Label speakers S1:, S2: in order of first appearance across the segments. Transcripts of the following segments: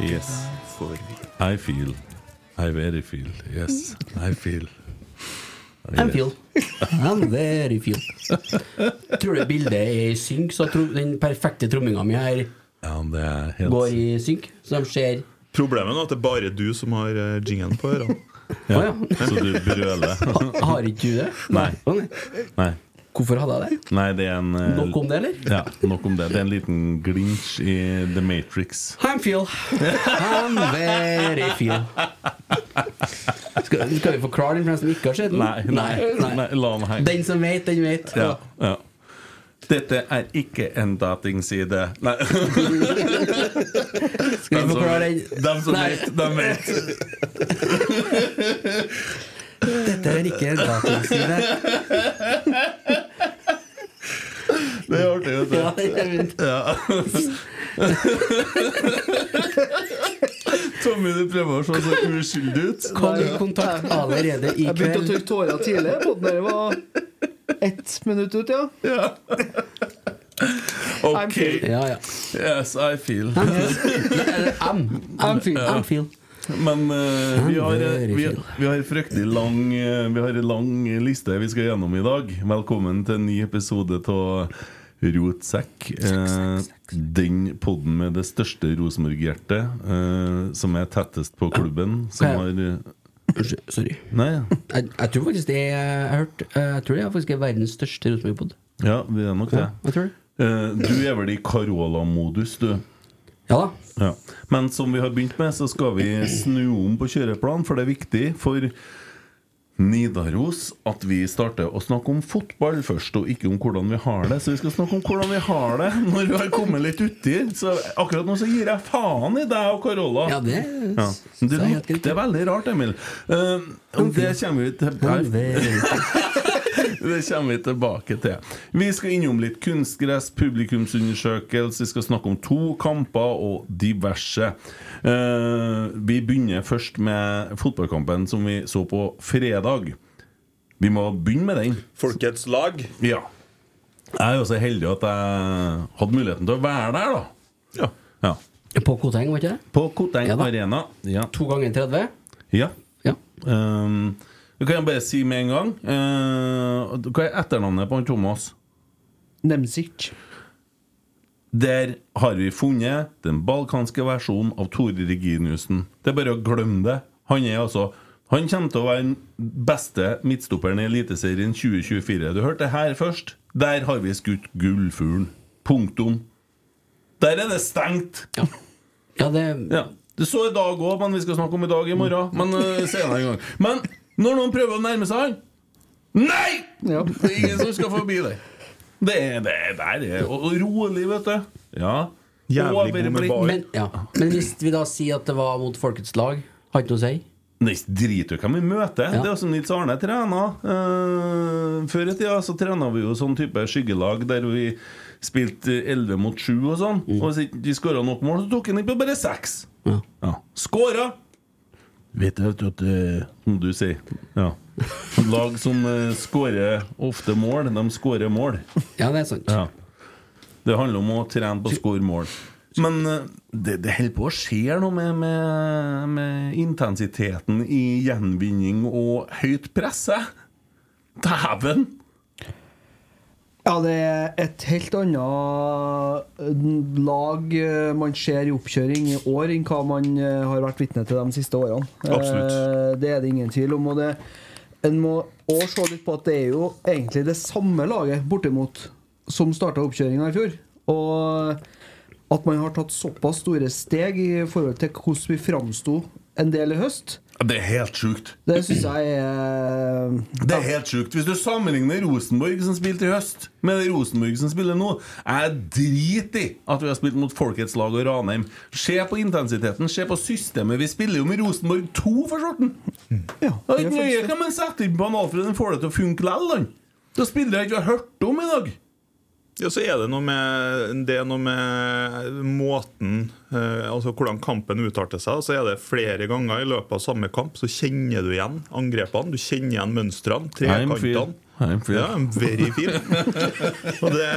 S1: Yes. I feel. I very feel. Yes, I feel.
S2: I'm feel. I'm very feel. Tror du bildet er i synk, så tro, den perfekte tromminga mi her
S1: Ja, det er
S2: går
S1: helt
S2: i synk, så de ser
S3: Problemet nå er at det er bare du som har eh, jingen på ørene.
S2: Å
S1: ja,
S2: ja.
S1: Så du brøler.
S2: Ha- Har ikke du det?
S1: Nei.
S2: Å, nei.
S1: Nei.
S2: Hvorfor hadde jeg det?
S1: Nei, det er en eh,
S2: Nok om det, eller?
S1: Ja, nok om det. Det er en liten glinsj i The Matrix.
S2: I'm feel. I'm very feel. Skal, skal vi forklare den for dem som ikke har sett den?
S1: Nei, nei,
S2: Nei.
S1: nei la den henge.
S2: Den som vet, den vet.
S1: Ja, ja. Dette er ikke en datingside. Nei.
S2: Skal vi forklare den?
S1: Dem som
S2: Nei.
S1: vet, dem vet.
S2: Dette er ikke en datingside.
S1: Det er artig, vet du.
S2: Ja, jeg vet.
S1: Tommy, du prøver å se så uskyldig ut.
S2: Kom i kontakt allerede i
S4: Jeg begynte å
S2: kveld.
S4: tørke tårer tidlig. Podden her var ett minutt ut, ja. I'm
S1: Ok.
S4: feel.
S2: Ja, ja.
S1: Yes, I feel.
S2: I'm, I'm feel. I'm feel.
S1: Men eh, vi, har, eh,
S2: Very
S1: vi,
S2: feel.
S1: vi har fryktelig lang eh, Vi har en lang liste vi skal gjennom i dag. Velkommen til en ny episode av Rotsekk. Eh, den podden med det største Rosenborg-hjertet, eh, som er tettest på klubben, som har eh,
S2: Unnskyld, Sorry.
S1: Nei,
S2: Jeg, jeg tror faktisk det jeg har hørt eh, Jeg tror det er faktisk er verdens største Rosenborg-pod.
S1: ja, det er nok det.
S2: Jeg tror det.
S1: Eh, du er vel i Carola-modus, du.
S2: Ja da.
S1: Ja. Men som vi har begynt med, så skal vi snu om på kjøreplanen, for det er viktig for Nidaros at vi starter å snakke om fotball først, og ikke om hvordan vi har det. Så vi skal snakke om hvordan vi har det når vi har kommet litt uti. Så akkurat nå så gir jeg faen i deg og Carola.
S2: Ja, det
S1: Ja. Men Du
S2: sa jeg helt riktig.
S1: lukter veldig rart, Emil. Eh, og det kommer vi til
S2: Ja, det-
S1: det kommer vi tilbake til. Vi skal innom litt kunstgress, publikumsundersøkelse, vi skal snakke om to kamper og diverse. Eh, vi begynner først med fotballkampen som vi så på fredag. Vi må begynne med den.
S3: Folkets lag.
S1: Ja. Jeg er jo så heldig at jeg hadde muligheten til å være der, da.
S3: Ja.
S1: Ja.
S2: På Koteng, var ikke det?
S1: På Koteng
S2: Ja da.
S1: Arena. Ja.
S2: To ganger 30?
S1: ja.
S2: Ja.
S1: Um, det kan jeg bare si med en gang. Eh, hva er etternavnet på han Thomas?
S4: Nemsic.
S1: Der har vi funnet den balkanske versjonen av Tore Reginiussen. Det er bare å glemme det. Han er altså Han kommer til å være den beste midtstopperen i Eliteserien 2024. Du hørte det her først. Der har vi skutt gullfuglen. Punktum. Der er det stengt! Ja. Det så i dag òg, men vi skal snakke om i dag i morgen. Men eh, senere en gang. Men når noen prøver å nærme seg han Nei! Det er ingen som skal forbi deg. Det er det er der det er. Og, og rolig, vet du. Ja. Jævlig god med bar.
S2: Men, ja. Men hvis vi da sier at det var mot Folkets lag, har ikke noe å si?
S1: Nei, driter du hvem vi møter? Det er jo som Nils Arne trener. Eh, før i tida så trena vi jo sånn type skyggelag der vi spilte eh, 11 mot 7 og sånn. Og hvis ikke de skåra nok mål, så tok han inn på bare 6. Ja. Skåra! Vet du vet du at eh, Som du sier. Ja. Lag som eh, skårer ofte mål, de skårer mål.
S2: Ja, det er sant.
S1: Det handler om å trene på å skåre mål. Men eh, det, det holder på å skje noe med, med, med intensiteten i gjenvinning og høyt press. eh. Dæven!
S4: Ja, det er et helt annet eh, lag eh, man ser i oppkjøring i år enn hva man eh, har vært vitne til de siste årene.
S3: Absolutt.
S4: Eh, Det er det ingen tvil om. Og det, en må òg se litt på at det er jo egentlig det samme laget, bortimot, som starta oppkjøringa i fjor. Og at man har tatt såpass store steg i forhold til hvordan vi framsto en del i høst,
S1: Ja, Det er helt sjukt.
S4: det syns jeg er
S1: Det er helt sjukt. Hvis du sammenligner Rosenborg som spilte i høst, med det Rosenborg som spiller nå, jeg driter i at vi har spilt mot Folkets lag og Ranheim. Se på intensiteten, se på systemet. Vi spiller jo med Rosenborg 2 for sorten! Ja, det er ikke nøye hva man setter inn på han Alfred, han får det til å funke likevel, han. Da spiller jeg ikke vi har hørt om i dag.
S3: Ja, så er det noe med, det er noe med måten eh, Altså hvordan kampen utarter seg. Så er det flere ganger i løpet av samme kamp så kjenner du igjen angrepene. Du kjenner igjen mønstrene.
S1: I'm feel.
S3: Trekantene.
S1: I'm feel.
S3: Ja, I'm very feel. Og det,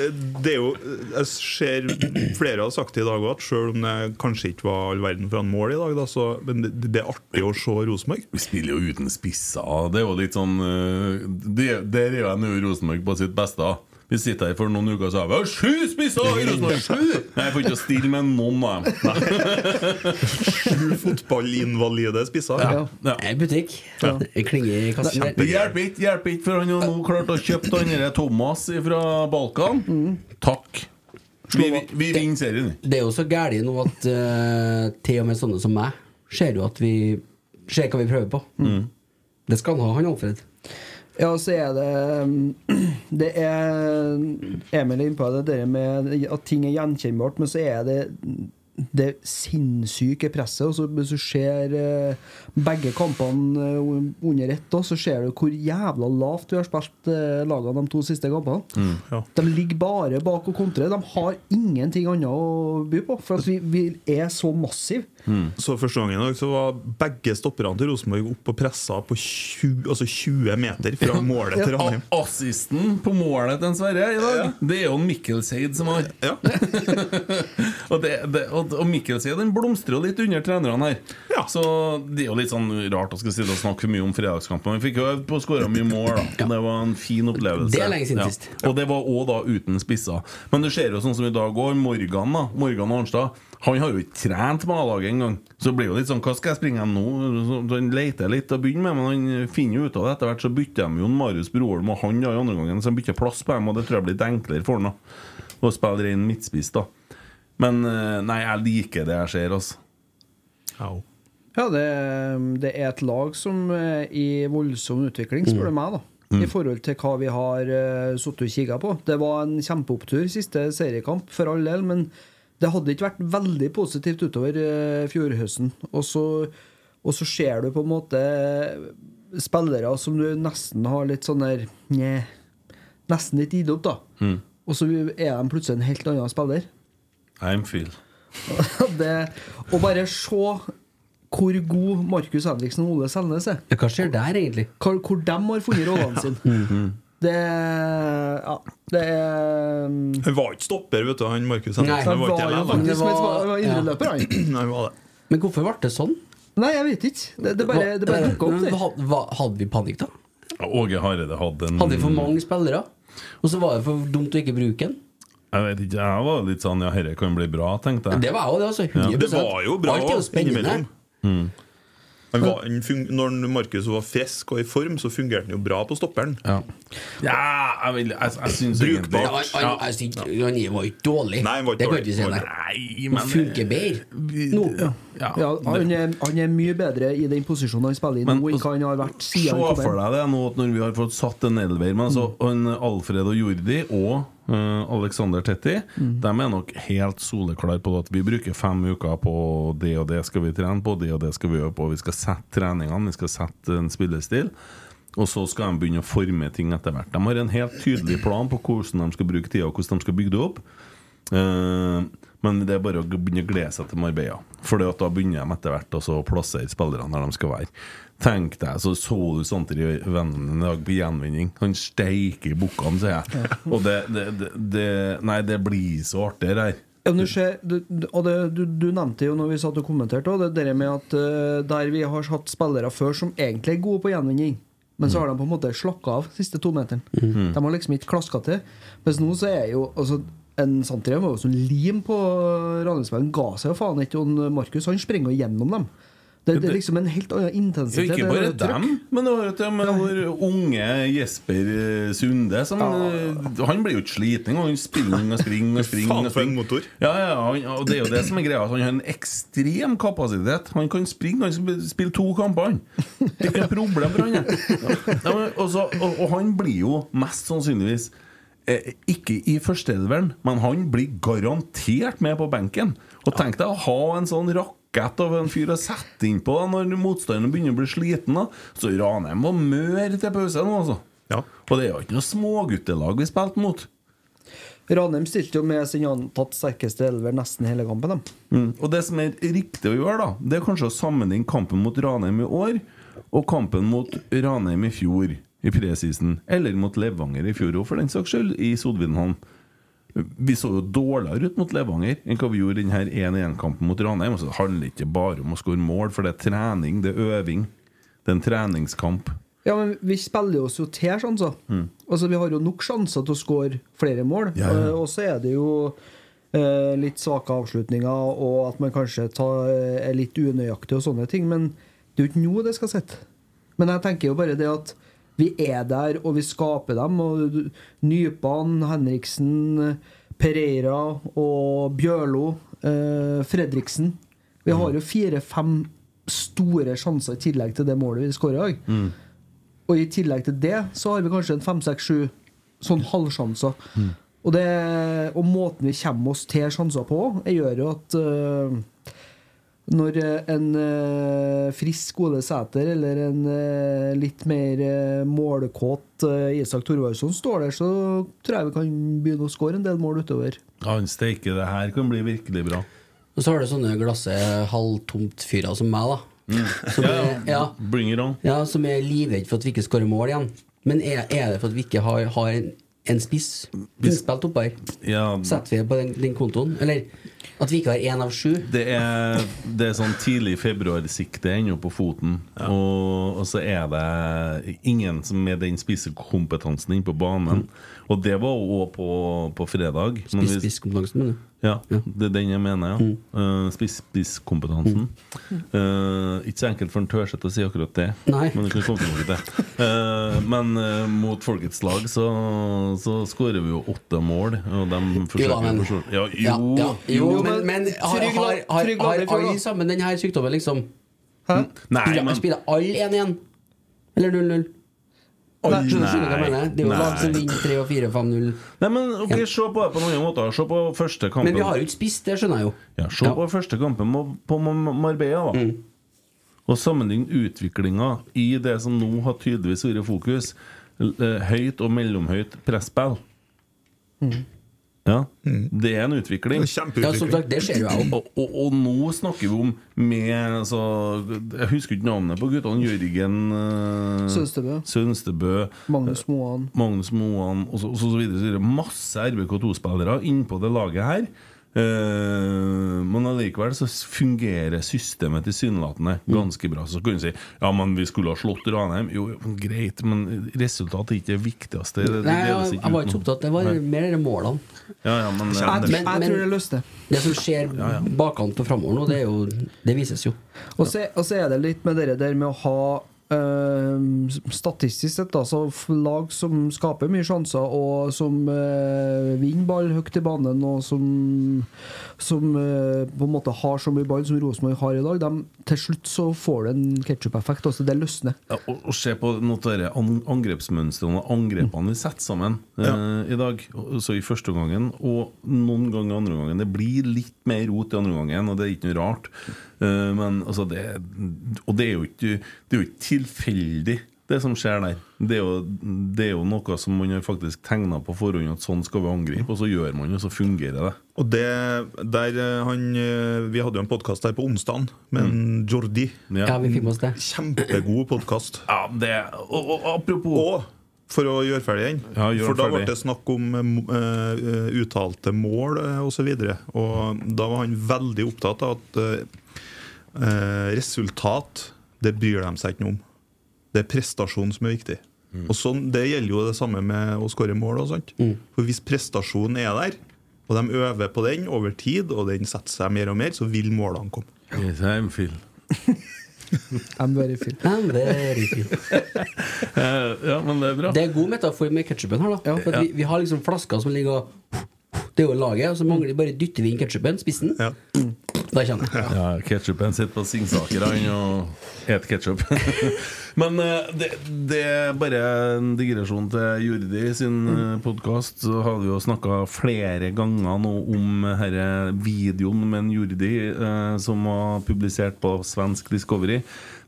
S3: det, det er jo Jeg ser flere har sagt det i dag òg, at selv om det kanskje ikke var all verden foran mål i dag, da, så, men det, det er artig å se Rosenborg.
S1: Vi spiller jo uten spisser. Det er jo litt sånn eh, det, Der er jo jeg nå i Rosenborg på sitt beste. da. Vi sitter her for noen uker og sier vi har sju spisser i Rosenborg! Nei, Jeg får ikke stille med noen av dem.
S3: Sju fotballinvalide spisser.
S1: Ja.
S2: En butikk. Det klinger i kassen.
S1: Det hjelper ikke, hjelper ikke, for han har nå klart å kjøpe han derre Thomas fra Balkan. Mm. Takk. Vi, vi, vi vinner serien.
S2: Det er jo så gærlig nå at eh, til og med sånne som meg ser jo at vi ser hva vi prøver på. Det skal han ha, han Alfred.
S4: Ja, og så er det um, Det er Emil er inne på det der med at ting er gjenkjennbart, men så er det det sinnssyke presset. Og så Hvis du ser eh, begge kampene eh, under ett, da, så ser du hvor jævla lavt vi har spilt eh, lagene de to siste kampene. De ligger bare bak og kontrer. De har ingenting annet å by på, for at vi, vi er så massive.
S3: Så første gangen i dag så var begge stopperne til Rosenborg opp og pressa på 20, altså 20 meter fra målet til Ranheim.
S1: A- Assisten på målet til en Sverre i dag, det er jo en Mikkelseid som har. og, det, det, og, og Mikkelseid den blomstrer jo litt under trenerne her. Så det er jo litt sånn rart å skal sitte og snakke for mye om fredagskampen. Vi fikk jo øvd på å skåre mye mål, da. Det var en fin opplevelse.
S2: Det er lenge siden sist.
S1: Og det var òg da uten spisser. Men du ser jo sånn som i dag òg, Morgan da Morgan Arnstad. Han har jo ikke trent med A-laget engang. Så det blir jo litt sånn Hva skal jeg springe nå? Så Han leter litt til å begynne med, men han finner jo ut av det etter hvert. Så bytter de jo Marius Broholm og han da i andre gangen, så de bytter plass på dem. Og det tror jeg blir litt enklere for han da å spille ren midtspiss, da. Men eh, nei, jeg liker det jeg ser, altså.
S4: Ja, det, det er et lag som er i voldsom utvikling, spør du meg, da. I forhold til hva vi har uh, sittet og kikket på. Det var en kjempeopptur siste seriekamp, for all del, men det hadde ikke vært veldig positivt utover eh, fjorhøsten. Og så, og så ser du på en måte eh, spillere som du nesten har litt sånn der Nje. Nesten litt gitt opp, da. Og så er de plutselig en helt annen spiller.
S1: I'm Phil.
S4: det, og bare se hvor god Markus Henriksen og Ole Selnes er.
S2: Hva skjer der, egentlig?
S4: Hvor, hvor de har funnet rollene sine. Det Ja, det er mm,
S3: Han var ikke stopper, vet du, han Markus
S4: Nei,
S3: Henriksen. Han
S4: han
S3: var ikke
S4: var jo
S3: LL, han.
S4: faktisk Det var- han var indreløper, han.
S3: Nei, han var det.
S2: Men hvorfor ble det sånn?
S4: Nei, jeg vet ikke. Det, det bare, det bare dukka opp, det.
S2: Hva- hva- Hadde vi panikk, da?
S1: Åge Hareide hadde en
S2: Hadde vi for mange spillere? Og så var det for dumt å ikke bruke den?
S1: Jeg vet ikke, jeg var litt sånn Ja, dette kan bli bra, tenkte jeg.
S2: Det var jeg jo det, altså.
S1: Ja.
S2: 100%.
S3: Det var jo bra
S2: Alt er jo
S3: innimellom.
S2: spennende.
S3: Men Han var, han fung- når Markus var frisk og i form, så fungerte han jo bra på stopperen.
S1: Ja, jeg, vil, jeg, jeg syns
S2: Ja, han- han- jeg synes ikke- Han var ikke dårlig.
S3: Nei, han var ikke
S2: det kan
S3: dårlig.
S2: ikke si, nei.
S1: Nei, eh,
S2: Han funker
S4: eh,
S2: bedre nå.
S1: Ja,
S4: Ja, han, er, han er mye bedre i den posisjonen han spiller i nå, enn hva han har vært
S1: altså, Se
S4: siden han
S1: for
S4: kom inn.
S1: deg det nå at når vi har fått satt en elver Men altså
S4: Mm.
S1: han, Alfred og Jordi og eh, Alexander Tetti
S4: Mm.
S1: De er nok helt soleklare på at vi bruker fem uker på det og det skal vi trene på, det og det skal vi øve på. Vi skal sette treningene, vi skal sette en spillestil. Og så skal de begynne å forme ting etter hvert. De har en helt tydelig plan på hvordan de skal bruke tida, og hvordan de skal bygge det opp. Eh, men det er bare å g- begynne å glede seg til Marbella. For da begynner de etter hvert også å plassere spillerne der de skal være. Tenk deg, så så du Santer i vennen min i dag på gjenvinning. Han steiker i bukkene, sier jeg. Og det, det, det, det Nei, det blir så artig, det her.
S4: Ja, men du, ser, du, du- og det, du, du nevnte jo når vi satt og kommenterte, og det der med at eh, der vi har hatt spillere før som egentlig er gode på gjenvinning, men så har de på en måte slakka av siste to meteren.
S1: Mm.
S5: Mhm.
S4: De har liksom ikke klaska til. Mens nå så er jo altså, En Santrien var jo som lim på Ranheimsveien. Ga seg jo faen ikke. Og Markus han springer jo gjennom dem. Det, det er liksom en helt annen
S1: Ja,
S4: intensitet.
S1: ikke
S4: det
S1: bare
S4: er trykk.
S1: dem, men det var jo til og med vår unge Jesper eh, Sunde. Som, eh, Han blir jo ikke sliten, og han springer og springer. og springer
S3: Faen, for en motor.
S1: Ja, ja, han, og det er jo det som er greia. at Han har en ekstrem kapasitet. Han kan springe, han kan spille to kamper, han. Det er ikke noe problem for han. jeg. Ja, men også, og, og han blir jo mest sannsynligvis eh, ikke i førsteelveren, men han blir garantert med på benken. Og tenk deg å ha en sånn rakett av en fyr å sette innpå når motstanderen begynner å bli sliten. Da. Så Ranheim var mør til pause nå, altså. Og det er jo ikke noe småguttelag vi spilte mot.
S4: Ranheim stilte jo med sin antatt sterkeste elver nesten hele kampen. De.
S1: Mm. Og det som er riktig å gjøre, da Det er kanskje å sammenligne kampen mot Ranheim i år og kampen mot Ranheim i fjor, i presisen. Eller mot Levanger i fjor òg, for den saks skyld, i Sodvinhallen. Vi så jo dårligere ut mot Levanger enn hva vi gjorde i denne 1-1-kampen mot Ranheim. Altså, det handler ikke bare om å skåre mål, for det er trening, det er øving. Det er en treningskamp.
S4: Ja, men vi spiller oss jo til sjanser.
S1: Mm.
S4: Altså, vi har jo nok sjanser til å skåre flere mål.
S1: Ja, ja.
S4: Eh, Og så er det jo eh, litt svake avslutninger, og at man kanskje tar, eh, er litt unøyaktig og sånne ting. Men det er jo ikke nå det skal sitte. Men jeg tenker jo bare det at vi er der, og vi skaper dem. Og du- Nypan, Henriksen, Pereira og Bjørlo, eh, Fredriksen Vi
S1: Mm.
S4: har jo fire-fem store sjanser i tillegg til det målet vi skårer i dag.
S5: Mm.
S4: Og i tillegg til det så har vi kanskje en fem, seks, sju sånn halvsjanser. Og, det, og måten vi kommer oss til sjanser på, også, gjør jo at øh, når øh, en øh, frisk Ole Sæter eller en øh, litt mer øh, målkåt øh, Isak Thorvaldsson står der, så tror jeg vi kan begynne å skåre en del mål utover.
S1: Han steike, det her kan bli virkelig bra.
S2: Og så har du sånne glasse halvtomt-fyrer som meg, da.
S1: Mm.
S2: Som er, ja,
S1: Bring it on.
S2: ja, som er livredd for at vi ikke skårer mål igjen. Men er, er det for at vi ikke har, har en, en spiss innspilt oppå her?
S1: Ja,
S2: Setter vi på den, den kontoen? Eller at vi ikke har én av sju?
S1: Det er, det er sånn tidlig februarsikte ennå på foten. Og, og så er det ingen som med den spisekompetansen inne på banen. Og det var òg på, på fredag. Men
S2: Spiss-
S1: vi-
S2: Spisskompetansen, mener du?
S1: ja, det er den jeg mener,
S2: Mm.
S1: ja. Eh, spiss- Spisskompetansen. Eh, ikke så enkelt for en Tørseth å si akkurat det,
S2: Nei.
S1: men det kan komme tilbake til det. Eh, men eh, mot folkets lag så, så skårer vi jo åtte mål, og de forsøker
S2: da,
S1: å
S2: men-
S1: forsvare- ja, jo,
S2: Ja, ja. Jo, men, men har,
S4: trygg
S2: har,
S4: land-
S2: har,
S4: trygg
S2: har,
S4: landefjord, da.
S2: alle sammen denne sykdommen, liksom?
S1: Nei,
S2: spiller,
S1: men-
S2: spiller alle 1-1? Eller 0-0?
S1: Oi,
S2: Nei, skjønner du hva jeg
S1: nei,
S2: mener? Det er jo
S1: nei.
S2: lag som vinner 3 og 4 og 5-0.
S1: Nei, men ok, Se på det på noen måter. Se på første kampen.
S2: Men vi har jo ikke spist, det skjønner jeg jo.
S1: Ja, Se på første kampen mo- på Mo- Marbella, da.
S2: Mm.
S1: Og sammenlign utviklinga i det som nå har tydeligvis vært fokus. L- eh, Høyt og mellomhøyt presspill.
S2: Mm.
S1: Ja, Mm. Det er en utvikling.
S2: Ja, som sagt, det ser jo jeg
S1: Og, og, og nå snakker vi om med altså, Jeg husker ikke navnet på guttene. Jørgen eh,
S4: Sønstebø.
S1: Sønstebø.
S4: Magnus Moan.
S1: Magnus Moan og så, og så videre, så videre. Masse RBK2-spillere innpå det laget her. Eh, men allikevel så fungerer systemet tilsynelatende
S2: Mm.
S1: ganske bra. Så kunne du si ja, men vi skulle ha slått Ranheim. Jo, jo, men greit, men resultatet er ikke det viktigste. Det, det
S2: Nei,
S1: deles
S2: jeg,
S1: ikke
S2: jeg var ikke
S1: utenom.
S2: så opptatt. Det var
S1: Nei.
S2: mer de målene.
S1: Ja, ja, men,
S2: Jeg- jeg tror det
S4: løste
S2: Det som skjer bakkant og framover nå, det, er jo, det vises jo.
S4: Og så, og så er det litt med det der med å ha eh, statistisk sett, altså lag som skaper mye sjanser, og som eh, vinner ball høyt i banen, og som, som eh, på en måte har så mye ball som Rosenborg har i dag, dem, til slutt så får det en ketsjup-effekt. Altså det løsner.
S1: Ja, og, og se på noe av dette an- angrepsmønstrene og angrepene vi setter sammen eh, i dag. Og- Så i første gangen og noen ganger i andre gangen. Det blir litt mer rot i andre gangen, og det er ikke noe rart. Eh, men altså det, Og det er jo ikke, det er jo ikke tilfeldig, det som skjer der. Det er jo, det er jo noe som man har faktisk tegna på forhånd at sånn skal vi angripe, og så gjør man det, og så fungerer det.
S3: Og det der eh, han eh, Vi hadde jo en podkast der på onsdagen med en Jordi.
S2: Ja, vi fikk med oss det.
S3: Kjempegod podkast.
S1: Ja, det- og, og apropos
S3: Og for å gjøre ferdig den.
S1: Ja, gjør
S3: for da ble
S1: ferdig.
S3: det snakk om eh, mo- eh, uttalte mål eh, og så videre Og da var han veldig opptatt av at eh, eh, resultat, det bryr de seg ikke noe om. Det er prestasjon som er viktig.
S5: Mm.
S3: Og sånn, Det gjelder jo det samme med å skåre mål. og sånt For Hvis prestasjonen er der, og de øver på den over tid, og den setter seg mer og mer, så vil målene komme.
S1: Yes, I'm Phil.
S4: I'm very Phil.
S2: I'm very Phil.
S1: Eh, ja, men det er bra.
S2: Det er god metafor med ketsjupen her, da. For at
S1: Ja.
S2: vi, vi har liksom flasker som ligger og Det er jo laget, og så mangler bare dytter vi inn ketsjupen, spissen. Da kommer det.
S1: Ja, ketchupen sitter på Singsaker Han og et ketchup Men eh, det, det er bare en digresjon til Jordi sin eh, podcast Så har vi jo snakket flere ganger nå om herre videoen med en Jordi eh, Som var publisert på Svensk Discovery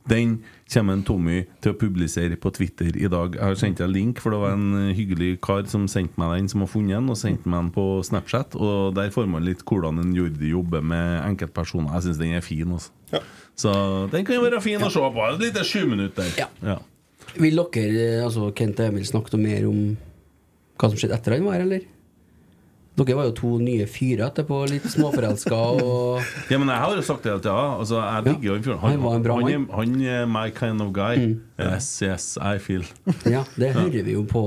S1: den kommer en Tommy til å publisere på Twitter i dag. Jeg har sendt deg en link, for det var en eh, hyggelig kar som sendte meg den, som har funnet den, og sendte meg den på Snapchat. Og der får man litt hvordan en Jordi jobber med enkeltpersoner. Jeg syns den er fin. Også. Så den kan jo være fin å se på. Et lite sjuminutt der. Ja.
S2: Vil dere, eh, altså Kent og Emil, snakke noe mer om hva som skjedde etter han var her, eller? Dere var jo to nye fyrer etterpå, litt småforelska og
S1: Ja, men jeg har jo sagt det hele tida. Altså, jeg digger jo den fyren.
S2: Han var en bra
S1: han, er- han er my kind of guy. Yes, yes, I feel.
S2: Ja, det hører vi jo på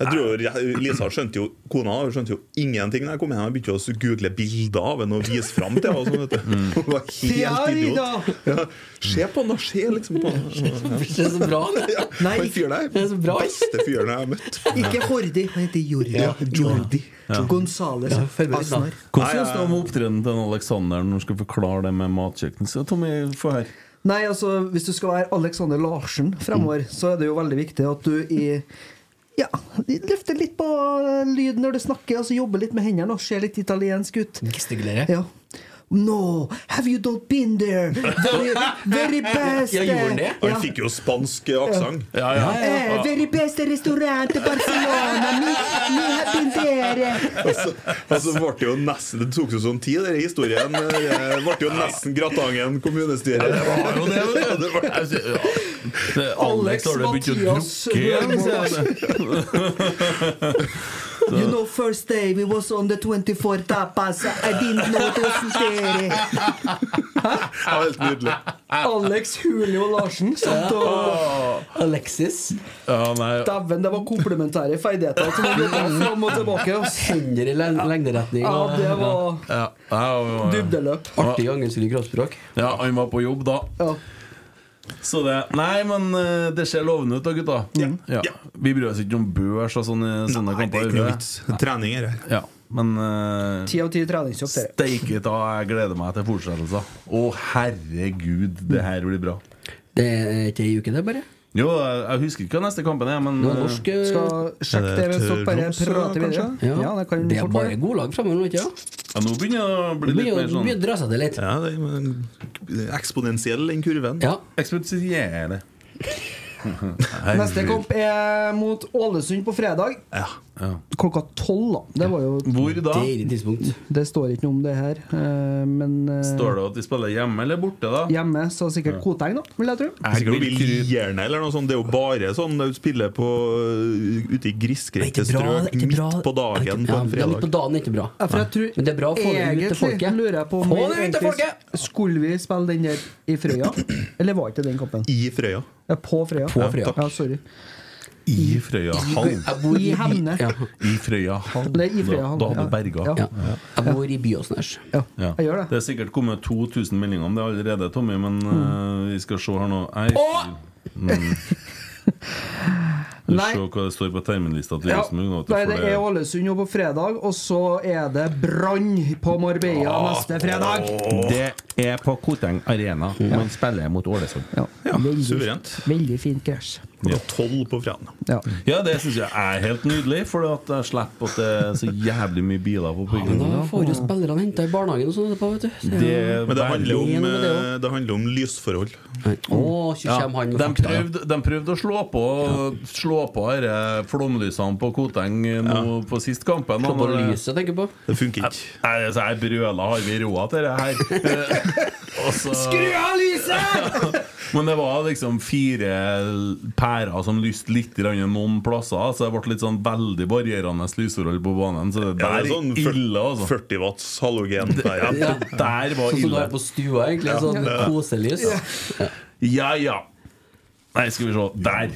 S3: Jeg tror jo- Lisa skjønte jo Kona skjønte jo ingenting da jeg kom hjem. Jeg begynte jo å google bilder av henne og vise fram til henne. og sånn, vet du. Hun var helt idiot. Ja, se på han, da! Se liksom på han.
S2: Det er så bra, det.
S3: Ja, han fyren der.
S2: Det er så bra.
S3: Beste fyren jeg har møtt.
S4: Ikke Hordi, han heter Jordi.
S3: Ja, Jordi.
S1: Ja.
S4: Gonzales Asnar.
S1: Hvordan synes du om opptredenen til Alexander når han skal forklare det med matkjøkken? Så Tommy, få her.
S4: Nei, altså, hvis du skal være Alexander Larsen fremover, så er det jo veldig viktig at du i ja, løfter litt på lyden når du snakker, altså jobber litt med hendene og ser litt italiensk ut.
S2: Gestikulere.
S4: Ja. No, have you not been there? Very, very best
S3: Ja, gjorde han det?
S4: Ja.
S3: Han fikk jo spansk aksent.
S4: Eh, very best restaurant i Barcelona. Me, me have been there.
S3: Altså, altså ble det, jo nesten, det tok jo sånn tid, denne historien. eh, Det ble jo nesten Gratangen kommunestyre.
S1: det var jo det, vet du.
S4: Alex,
S1: har du begynt å
S4: Mathias,
S1: drukke igjen,
S4: Rønneberg. You know, first day we was on the 24 tapas. I didn't know it was there.
S3: Helt nydelig.
S4: Alex Julio Larsen satt og
S2: Alexis.
S1: Ja, nei
S4: Dæven, det var komplementære ferdigheter som var jobbet fram og tilbake. ass.
S2: Hender i len- lengderetning.
S4: Ja, Ah.
S2: og-
S4: det var
S1: Ja, ja, ja.
S4: dybdeløp.
S2: Artig gangensylig kroppsspråk.
S1: Ja, han var på jobb da. Så det, nei, men eh, det ser lovende ut da, gutta. Ja. Vi bryr oss ikke om børs og sånne, sånne
S3: Nei, det er
S1: kamper.
S3: ikke noe vits. Trening er det.
S1: Ja, men eh,
S4: Ti av ti treningsjobb. dere.
S1: Steike ta, jeg gleder meg til fortsettelser. Å, herregud, det her blir bra.
S2: Det er ikke ei uke, det, bare.
S1: Jo, jeg, jeg husker ikke hva neste kampen er, men
S2: Det er
S1: eh,
S2: norsk, eh,
S4: Skal sjekke det hvis dere bare prater videre.
S2: Ja.
S4: Ja, det kan
S2: det er
S4: fort
S2: bare
S4: være.
S2: godlag framover nå, ikke sant?
S1: Ja, nå begynner det å bli
S2: Det
S1: litt
S2: begynner-
S1: mer sånn
S2: begynner å dra seg til litt.
S3: Ja, det er men eksponentiell, den kurven.
S2: Ja.
S1: Eksponentielle.
S4: Neste kamp er mot Ålesund på fredag.
S3: Ja.
S4: Klokka tolv, da. Det var jo
S1: Hvor da? Deilig
S4: Det står ikke noe om det her, eh, men eh,
S1: Står det at de spiller hjemme eller borte, da?
S4: Hjemme, så sikkert Koteng, da, vil jeg tro.
S3: Jeg tror vi lierne, eller noe sånt. Det er jo bare sånn du spiller på øh, ute i grisgrendte
S2: Det er ikke bra,
S3: strøk
S2: det er ikke
S3: midt
S2: bra.
S3: på dagen på
S2: Ja,
S3: en
S2: det er midt
S3: fredag.
S2: på dagen er ikke bra.
S4: Ja, for jeg tror
S2: Men det er bra å få det ut til
S4: Egentlig
S2: folket.
S4: lurer jeg på om
S2: Få
S4: vi
S2: det ut til
S4: egentlig
S2: folket!
S4: Skulle vi spille den der i Frøya? Eller var ikke det den kampen?
S3: I Frøya.
S4: Ja, på Frøya.
S1: På Frøya.
S4: Ja, sorry.
S1: I Frøya hall.
S2: Jeg bor
S4: I Hemne.
S2: Ja.
S1: I Frøya hall.
S4: Nei, i Frøya hall,
S1: Da, da hadde
S4: ja.
S1: berga.
S4: Ja.
S2: Jeg bor i Byåsen her.
S1: Ja.
S4: Jeg gjør det.
S1: Det er sikkert kommet 2000 meldinger om det allerede, Tommy, men
S2: Mm.
S1: eh, vi skal se her nå. Jeg, mm. Vi
S4: Nei.
S1: Se hva det står på terminlista til
S4: Ja.
S1: Rosenborg. nå, at
S4: Nei,
S1: du
S4: det
S1: får
S4: er Ålesund jo på fredag, og så er det Brann på Marbella
S1: Ah,
S4: neste fredag.
S5: Det er på Koteng Arena. Man spiller mot Ålesund.
S3: Ja, suverent.
S4: Veldig fint krasj.
S3: Klokka tolv på fredag.
S4: Ja.
S1: Ja, det syns jeg er helt nydelig, for at jeg slipper at det er så jævlig mye biler på
S2: Men da
S1: bygningen.
S2: får jo spillerne henta i barnehagen og sånn etterpå, vet du. Så,
S1: Det-
S3: Men det handler,
S2: Berlin
S3: om,
S2: med det
S3: eh, det handler om lysforhold.
S2: Å, så kommer han med
S1: de,
S2: fakta.
S1: prøvde, de prøvde å slå på Slå på disse flomlysene på Koteng eh, nå på sist kampen.
S2: Slå på
S1: og når det-
S2: lyset, tenker jeg på.
S3: Det funker ikke.
S1: Nei, altså, jeg brøla Har vi råd til det her? Eh, og så-
S4: Skru av lyset!
S1: Men det var liksom fire pærer som lyste litt grann noen plasser, så det ble litt sånn veldig varierende lysforhold på banen. Så det der
S3: Ja,
S1: er
S3: det er sånn fyr-
S1: ille, altså.
S3: 40 watts halogen.
S1: Ja,
S3: Der, ja.
S1: det der var
S2: Sånn som du har
S1: ille.
S2: på stua, egentlig. Sånn koselys.
S1: Ja, ja. Nei, skal vi se. Der!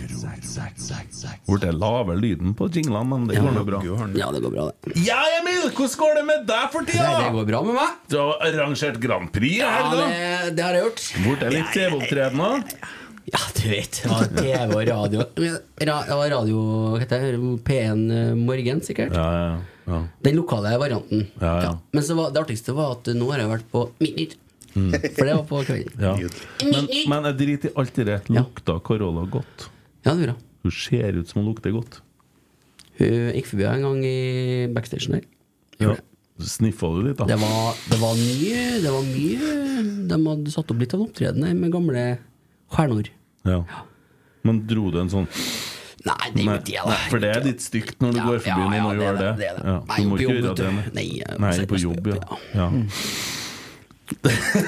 S1: Ble det lavere lyden på jinglene, men det går nå bra.
S2: Ja, det går bra, det.
S1: Ja, Emil! Hvordan går det med deg for
S2: Nei, det
S1: tida?
S2: går bra med meg.
S1: Du har arrangert Grand Prix i
S2: Ja, det,
S1: helga.
S2: det har jeg gjort.
S1: Ble det litt TV-opptreden òg?
S2: Ja, du vet. det var TV og radio Ra ja, Radio hva heter det? P1 eh, Morgen, sikkert.
S1: Ja, ja, ja.
S2: Den lokale varianten.
S1: Ja, ja.
S2: Men så var, det artigste var at nå har jeg vært på Midtnytt. For det var på kvelden.
S1: Mm. Ja. Men, men jeg driter i alt det der. Lukta Carola godt?
S2: Ja, det gjorde jeg.
S1: Hun ser ut som hun lukter godt.
S2: Hun gikk forbi en gang i backstagen der.
S1: Ja. Sniffa du litt, da?
S2: Det var, det var mye Det var mye De hadde satt opp litt av en opptreden der med gamle stjerner.
S1: Ja. Men dro du en sånn
S2: Nei, det er jo
S1: Nei,
S2: ikke det, da.
S1: nei, for det er litt stygt når du
S2: Ja,
S1: går forbi
S2: ja,
S1: noen
S2: ja,
S1: og
S2: det er
S1: gjør det.
S2: det, det er det.
S1: Ja,
S2: Nei,
S1: du må
S2: på
S1: ikke
S2: jobb,
S1: gjøre
S2: vet
S1: det.
S2: du. Nei, eh, jeg-
S1: Nei, på jobb, ja. ja.
S2: Mm.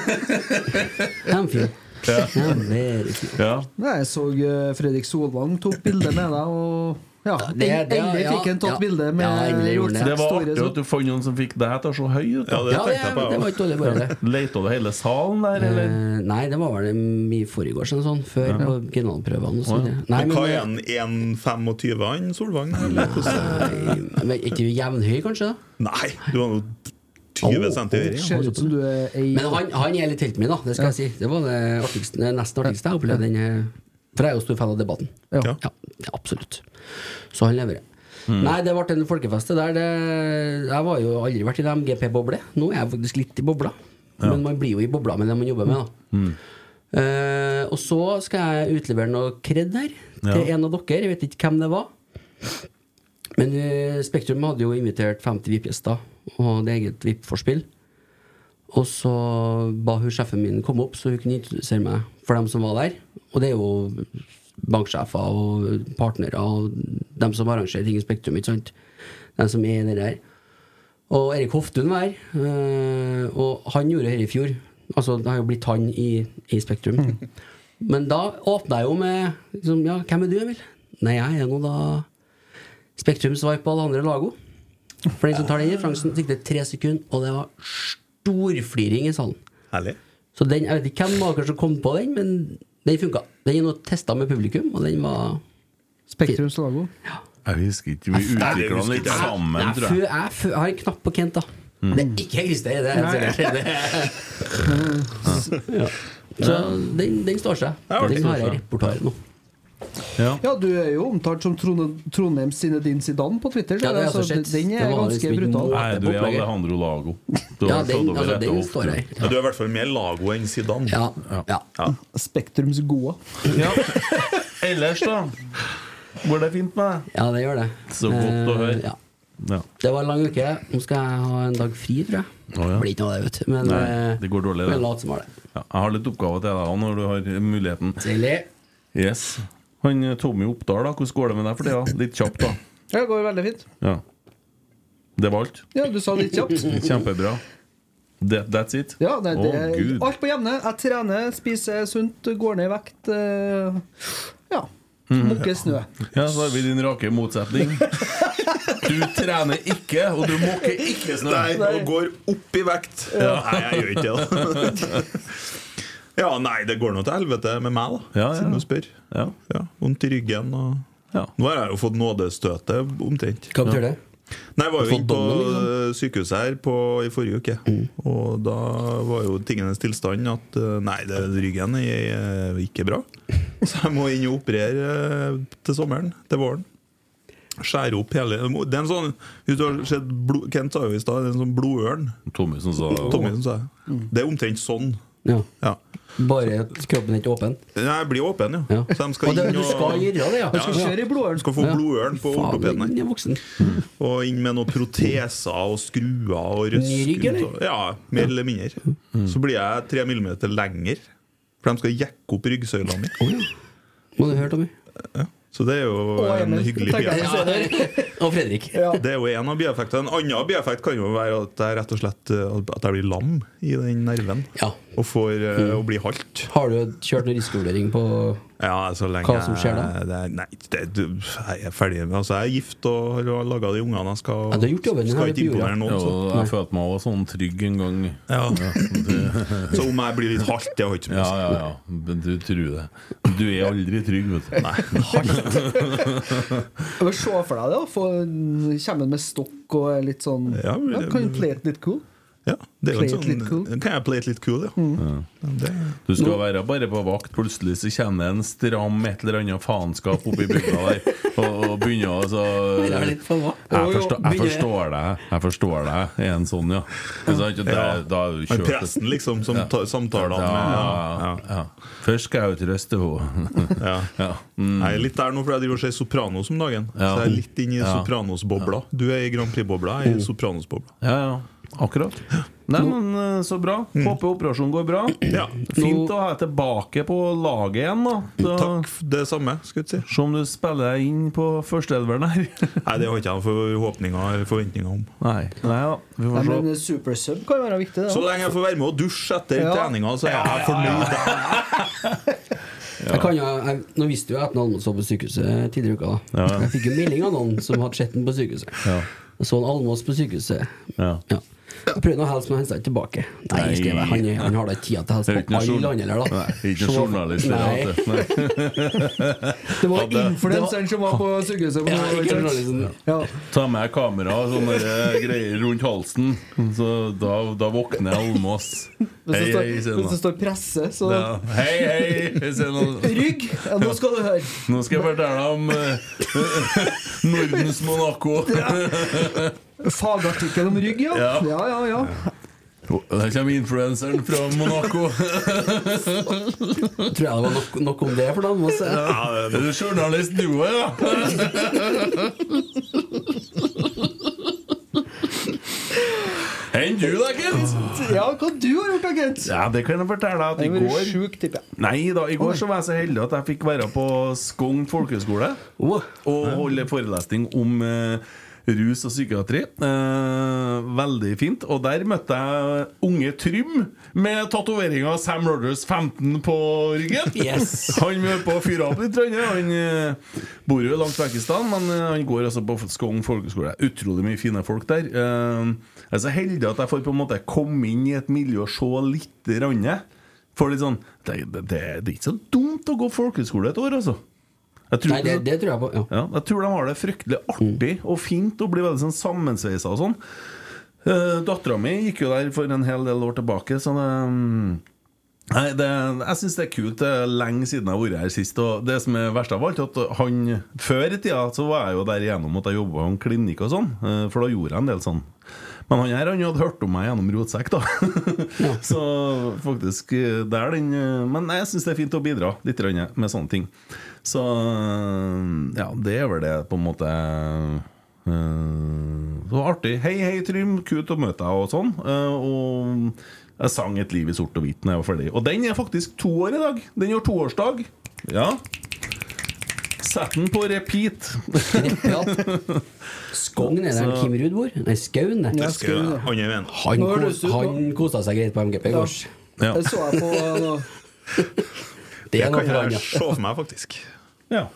S2: De er fine. De er veldig fine.
S1: ja.
S4: Nei, jeg så eh, Fredrik Solvang tok bilde med deg, og ja,
S2: det- det-
S4: endelig
S2: ja,
S4: fikk han
S2: ja.
S4: tatt bilde med
S2: Ja, endelig gjorde han det.
S1: Det var
S4: store
S1: artig
S4: som-
S1: at du fant noen som fikk deg til å se høy ut.
S3: Ja,
S1: da.
S3: det
S2: Ja, det,
S3: tenkte jeg på.
S2: det var
S3: jeg også.
S2: ikke dårlig, bare det.
S1: Leita du hele salen der, eller?
S2: Eh, nei, det var vel i forgårs eller sånn, før på generalprøvene. Og sånn, ja. nei,
S3: Men
S2: men,
S3: hva er han? 1,25 han Solvang? Eller? hvordan-
S2: eh, men, ikke jevnhøy, kanskje? da
S3: Nei, du var jo 20
S2: Åh,
S3: cm høyere.
S4: Ser ut som du er ei
S2: Men han, han er litt helten min, da. Det skal jeg si. Det var det artigste, det nesten artigste jeg opplevde. den, eh, For jeg er jo stor fan av debatten.
S4: Ja.
S2: Ja, ja, absolutt. Så han leverer. Nei, det ble en folkefest. det der det, Jeg var jo aldri vært i en MGP-boble. Nå er jeg faktisk litt i bobla. Men man blir jo i bobla med det man jobber med, da. Eh, og så skal jeg utlevere noe kred her til en av dere. Jeg vet ikke hvem det var. Men eh, Spektrum hadde jo invitert 50 VIP-gjester og hadde eget VIP-forspill. Og så ba hun sjefen min komme opp, så hun kunne introdusere meg for dem som var der. Og det er jo banksjefer og partnere og dem som arrangerer ting i Spektrum, ikke sant. Dem som er i det der. Og Erik Hoftun var her. eh, Og han gjorde dette i fjor. Altså, det har jo blitt han i, i Spektrum. Men da åpna jeg jo med liksom, Ja, hvem er du, Emil? Nei, jeg er nå da Spektrum svar på alle andre lago. For den som tar den referansen, fikk det tre sekunder, og det var storfliring i salen.
S3: Herlig.
S2: Så den, jeg vet ikke hvem av dere som kom på den, men den funka. Den er nå testa med publikum, og den var
S4: Spektrums logo.
S1: Jeg husker ikke. Vi utvikla den litt sammen,
S2: jeg,
S1: tror jeg. Mm.
S2: fø- jeg, fø- jeg har en knapp på Kent, da. Det er ikke Christer, det er helt sikkert. Det- ja. Så den, den står seg.
S3: Ja, den
S2: Den har
S3: står
S2: jeg i repertoaret nå.
S1: Ja.
S4: Ja, du er jo omtalt som Trone, Trondheims Zinedine Zidane på Twitter. Altså,
S2: Ja, det har jeg også
S4: den-
S2: sett.
S4: den
S2: Det
S4: er
S2: var
S4: ganske
S2: liksom ikke
S4: brutal.
S2: noe-
S1: Nei, du er Alejandro Lago. Du
S2: Ja,
S1: har slått
S2: den,
S1: over
S2: altså,
S1: rett
S2: den
S1: og
S2: står
S1: ofte.
S2: jeg i.
S3: Ja, Du er i hvert fall mer Lago enn Zidane.
S2: Ja, ja.
S4: Spektrums gode.
S1: Ja. Ellers, da? Går det fint med deg?
S2: ja, det gjør det.
S1: Så godt å
S2: Eh,
S1: høre.
S2: Ja.
S1: Ja.
S2: Det var en lang uke. Nå skal jeg ha en dag fri, tror jeg.
S1: Å, ja.
S2: Blir ikke noe av det, vet du. Men
S1: Nei,
S2: eh,
S1: det går dårlig,
S2: får jeg
S1: det.
S2: late som har det.
S1: Ja, jeg har litt oppgaver til deg også, når du har muligheten.
S2: Deilig.
S1: Yes. Han eh, Tommy Oppdal, da, hvordan går det med deg for tida? Litt kjapt, da.
S4: Det går veldig fint.
S1: Ja. Det var alt.
S4: Ja, du sa det litt kjapt.
S1: Kjempebra. Det, that's it?
S4: Mm. Ja, det,
S1: Å,
S4: det,
S1: Gud.
S4: alt på jevne. Jeg trener, spiser sunt, går ned i vekt. eh, Ja.
S1: Mm.
S2: Mhm.
S4: Mukker snø.
S1: Ja, så har vi din rake motsetning. Du trener ikke, og du måker ikke snø.
S3: Nei, og går opp i vekt.
S1: Ja.
S3: Nei, jeg gjør ikke det. Ja, nei, det går nå til helvete med meg, da,
S1: Ja, ja.
S3: siden du spør.
S1: Ja.
S3: Vondt i ryggen og Nå har jeg jo fått nådestøtet, omtrent.
S2: Hva betyr
S3: Ja.
S2: det?
S3: Nei, Jeg var
S2: Har
S3: jo
S2: fått
S3: inne på
S2: dommen, liksom. Mm.
S3: eh, sykehuset her på, i forrige uke. Og da var jo tingenes tilstand at eh, nei, det, ryggen er eh, ikke bra. Så jeg må inn og operere eh, til sommeren. Til våren. Skjære opp hele Det er en sånn hvis du har sett blod, Kent sa jo i stad, det er en sånn blodørn.
S1: Tommy som sa det.
S3: Tommy som sa det.
S2: Mm.
S3: Det er omtrent sånn.
S2: Ja.
S3: Ja.
S2: Bare at kroppen er ikke åpen?
S3: Nei, jeg blir åpen, jo.
S2: Ja.
S3: Så de
S2: Og
S3: skal
S2: det-
S3: inn
S2: du skal gjøre det, ja. Du skal kjøre i blodørn.
S3: Skal få
S2: Ja.
S3: blodørn på
S2: Faen,
S3: ortopeden
S2: jeg er voksen.
S3: Og inn med noen proteser og skruer og røsk.
S2: Ny rygg, eller?
S3: ut og- Ja, mer eller mindre.
S1: Mm.
S3: Så blir jeg tre millimeter lenger, for de skal jekke opp ryggsøyla mi.
S2: Må du høre, Tommy?
S3: Så det er jo
S2: Og
S3: en
S2: Emil,
S3: hyggelig
S2: tenker jeg.
S3: bieffekt.
S2: Og Fredrik.
S3: Det er jo en av bieffektene. En annen bieffekt kan jo være at jeg rett og slett eh, At jeg blir lam i den nerven. Og får
S1: Mm.
S3: eh, å bli halt.
S2: Har du kjørt noen risikovurdering på
S3: Ja, så lenge
S2: Hva som skjer da?
S3: jeg- Det er, nei, det, du, jeg er ferdig med Altså, jeg er gift og har laga de ungene jeg skal
S1: Ja, du har gjort jobben din,
S3: Skal
S1: har du
S3: ikke
S1: på jorda.
S3: imponere noen.
S1: Ja,
S3: så.
S1: og jeg følte meg også sånn trygg en gang.
S3: Ja.
S1: det-
S3: Så om jeg blir litt halt, det har ikke så mye
S1: ja,
S3: å si.
S1: ja, ja. Men du tror det. Du er aldri trygg, vet du.
S4: Jeg vil se for deg det. da. Få- Kommer han med stokk og er litt sånn
S3: Ja,
S4: ja,
S3: men det-
S4: Kan han play it litt cool?
S3: Det er jo
S4: Play it
S3: en
S4: litt cool. Mm.
S3: sånn, kan jeg play it litt cool, ja.
S1: Du skal være bare på vakt. Plutselig så kjenner en stram et eller annet faenskap oppi bygda der. Og, og begynner altså
S2: Det er
S1: Jeg,
S2: litt for hva?
S1: forstår- jeg forstår deg. Jeg forstår deg, er en sånn, ja. Ikke sant? Og det-
S3: Ja.
S1: da er du
S3: Men
S1: kjørt.
S3: pressen, liksom, som tar samtaler med-
S1: ja, ja, ja. Først skal jeg jo trøste henne.
S3: Ja.
S1: Mm.
S3: Jeg er litt der nå, for jeg driver og ser Sopranos om dagen.
S1: Ja.
S3: Så jeg er litt inne i
S1: Ja.
S3: Sopranos-bobla. Du er i Grand Prix-bobla, jeg er i Sopranos-bobla.
S1: Ja, ja. Akkurat. Nei, men eh, så bra.
S3: Mm.
S1: Håper operasjonen går bra. Fint å ha deg tilbake på laget igjen, da.
S3: Takk, det samme, skulle jeg
S1: si. Se om du spiller deg inn på førsteelveren her.
S3: Nei, det har ikke jeg forhåpninger eller forventninger om.
S1: Nei. Nei ja. Vi
S4: Nei,
S1: får se.
S4: men supersub kan være viktig, det.
S3: Så
S4: da.
S3: lenge jeg får være med og dusje etter
S4: Ja.
S3: treninga, så er jeg fornøyd.
S2: Jeg kan jo, jeg, nå visste jo jeg at Almos var på sykehuset tidligere i uka. Da.
S1: Ja.
S2: Jeg fikk jo melding av noen som hadde sett den på sykehuset.
S1: Ja.
S2: Jeg så en Almås på sykehuset.
S1: Ja.
S2: Jeg prøvde å helse, men han sa ikke tilbake. Nei,
S1: Nei.
S2: skrev jeg. Han, er- han har da ikke tida til å helse
S1: Det er ikke
S2: på
S1: noe
S2: alle
S1: journ-
S2: andre, eller da.
S1: Nei, ikke noe
S2: Så-
S1: journalist.
S2: Nei.
S1: det, altså.
S4: Det var
S1: Hadde-
S4: influenseren som var på sykehuset.
S2: Ja, ikke liksom.
S4: På
S2: journalisten.
S4: ja.
S1: Ta med kamera og sånne eh, greier rundt halsen, så da, da våkner Almås.
S4: Hvis
S1: Hei, hei,
S4: det står,
S1: sier
S4: hvis det
S1: han.
S4: står presse, så
S1: Ja. Hei, hei, sier han.
S4: Rygg! Ja, nå skal du høre.
S1: Nå skal jeg fortelle om eh, Nordens Monaco.
S4: Fagartikkel om rygg, ja.
S1: Ja.
S4: Ja, ja, ja.
S1: Der kommer influenseren fra Monaco.
S2: Tror jeg det var nok, nok om det for dem. Også.
S1: Er du journalist du òg, ja? Enn du da, Kent?
S4: Ja, hva du har gjort da, Kent?
S1: Ja, det kan jeg fortelle at i
S4: Jeg har vært
S1: går
S4: sjuk, tipper jeg.
S1: Nei da, i går så var jeg så heldig at jeg fikk være på Skogn folkehøgskole og holde forelesning om eh, rus og psykiatri. Eh, veldig fint. Og der møtte jeg unge Trym med tatoveringa Sam Rogers 15 på ryggen.
S2: Yes.
S1: Han holdt på å fyre opp litt. Trønde. Han eh, bor jo langt vekk i stedet, men eh, han går altså på Skogn folkehøgskole. Utrolig mye fine folk der. Eh, jeg er så heldig at jeg får på en måte komme inn i et miljø og se litt. Ranne. Får litt sånn det, det, det er ikke så dumt å gå folkehøgskole et år, altså. Jeg tror,
S2: Nei, det, det tror jeg på. Ja.
S1: Ja, jeg tror de har det fryktelig artig og fint og blir veldig sånn sammensveisa og sånn. Uh, Dattera mi gikk jo der for en hel del år tilbake, så det mm, Nei, det, jeg syns det er kult. Det er lenge siden jeg har vært her sist. Og det som er verst av alt, at han Før i tida så var jeg jo der igjennom at jeg jobba i en klinikk og sånn, eh, for da gjorde jeg en del sånn. Men han her han hadde hørt om meg gjennom rotsekk, da. så faktisk eh, det er den eh, Men jeg syns det er fint å bidra litt grann med sånne ting. Så eh, ja, det er vel det på en måte eh, Det var artig. Hei, hei, Trym. Kult å møte deg og sånn. Eh, og jeg sang 'Et liv i sort og hvitt' når jeg var ferdig. Og den er faktisk to år i dag. Den gjør toårsdag. Ja. Sett den på repeat.
S2: Skogn er der
S1: Så-
S2: Kim Ruud bor? Nei, Skaun, det.
S1: Ja, Skaun, ja. Han er veien.
S2: Han,
S1: Nå har du
S2: kos-
S1: sett på-
S2: han kosa seg greit på MGP i går.
S1: Ja.
S4: Det så jeg på nå.
S2: Det
S3: Det
S2: er noe
S3: kan
S2: for han, ja.
S3: jeg se for meg, faktisk.
S1: Ja.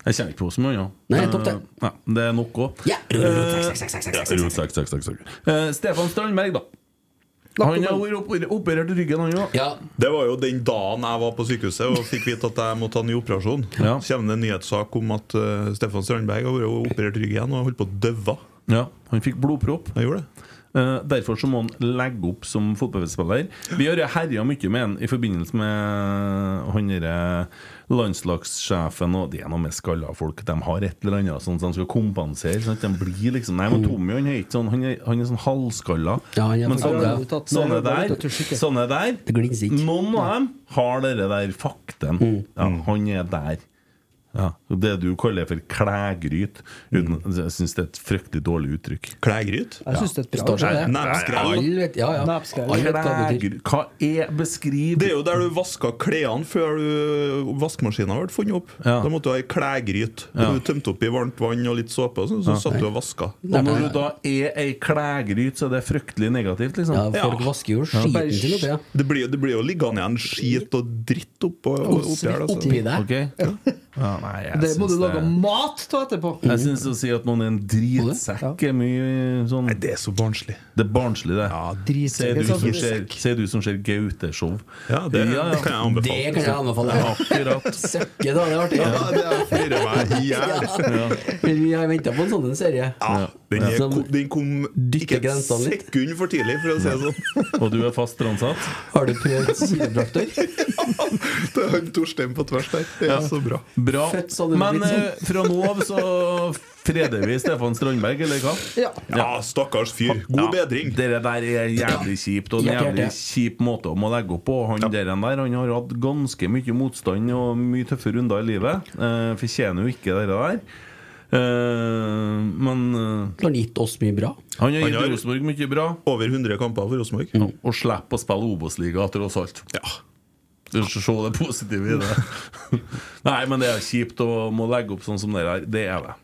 S1: Jeg kjenner ikke på så mye annet.
S3: Nei, topp det.
S1: Eh, Nei, det er nok òg.
S3: Ja, ro, ro, ro, sak, sak, sak, sak, sak, sak, sak.
S1: Eh, Stefan Strandberg, da. Han har vært oper- operert i ryggen, han òg.
S3: Det var jo den dagen jeg var på sykehuset og fikk vite at jeg måtte ha ny operasjon. Så kommer det en nyhetssak om at eh, Stefan Strandberg har vært operert i ryggen og holdt på å døve.
S1: Ja, han fikk blodpropp. Eh, derfor så må han legge opp som fotballspiller. Vi har herja mye med han i forbindelse med han derre landslagssjefen og Det er noe med skalla folk. De har et eller annet sånn som de skal kompensere. Sånn at de blir liksom Nei, men Tommy han er ikke sånn. Han er, han er sånn halvskalla.
S2: han er
S1: men sånn
S2: for
S1: sånne,
S2: gammel.
S1: sånne der, sånne der Noen av dem har dere der fakten.
S2: Mm.
S1: Ja, han er der. Ja, og Det du kaller for klægryt. Uten, jeg syns det er et fryktelig dårlig uttrykk. Klægryt?
S4: Jeg synes det er et bra Står seg, uttrykk. det. Alle vet- ja, ja. Nepskrell. Alle vet hva det betyr.
S1: Hva er beskriv
S3: Det er jo der du vaska klærne før du- vaskemaskinen ble funnet opp. Da måtte du ha ei klægryt.
S1: Ja.
S3: Du tømte opp i varmt vann og litt såpe, og sånn, så, så
S1: Ja.
S3: satt du og vaska.
S1: Og når du da er ei klægryt, så er det fryktelig negativt, liksom. Ja.
S3: Det blir, det blir jo liggende igjen skit og dritt oppå oppi her. altså.
S1: Ok. Ja, nei, jeg
S4: Det må
S1: syns
S4: du lage mat av etterpå.
S1: Jeg syns å si at noen er en dritsekk er mye sånn Nei,
S3: det er så barnslig.
S1: Det er barnslig, det. Sier
S4: dritsekk.
S1: du,
S4: Det er sånn
S1: som
S4: som
S1: ser- sier du som ser Gaute-show.
S3: Ja, det kan jeg anbefale.
S2: Det kan jeg anbefale.
S1: Ja, Akkurat.
S2: Søkke, da er det artig.
S1: Ja,
S3: det er flirer meg i hjel.
S2: Ja. Men Vi har venta på en sånn en serie.
S3: Ja, den, er,
S2: Som
S3: ko- den kom ikke et
S2: grensene litt.
S3: sekund for tidlig, for å si det sånn.
S1: Og du er fast ansatt?
S2: Har du prøvd kiropraktor?
S3: Det er han Torstein på tvers der. Det er
S1: Ja.
S3: så bra.
S1: Bra.
S3: Født sånn,
S1: Men
S3: blitt sånn.
S1: eh, fra nå av så freder vi Stefan Strandberg, eller hva?
S4: Ja.
S3: stakkars fyr. God bedring.
S1: Dere der er jævlig kjipt, og en
S3: Ja, klart
S1: jævlig
S3: det.
S1: kjip måte om å legge opp på. Han deren der han har hatt ganske mye motstand og mye tøffe runder i livet. Eh, fortjener jo ikke dere der. Eh, men
S2: Han har gitt oss mye bra.
S1: Han har
S3: Han
S1: gitt
S3: har
S1: Rosenborg mye bra.
S3: Over 100 kamper for Rosenborg.
S1: Og slipper å spille Obos-liga, tross alt. Ja. Du skal se det positive i det. Nei, men det er kjipt å må legge opp sånn som dere her. Det er det.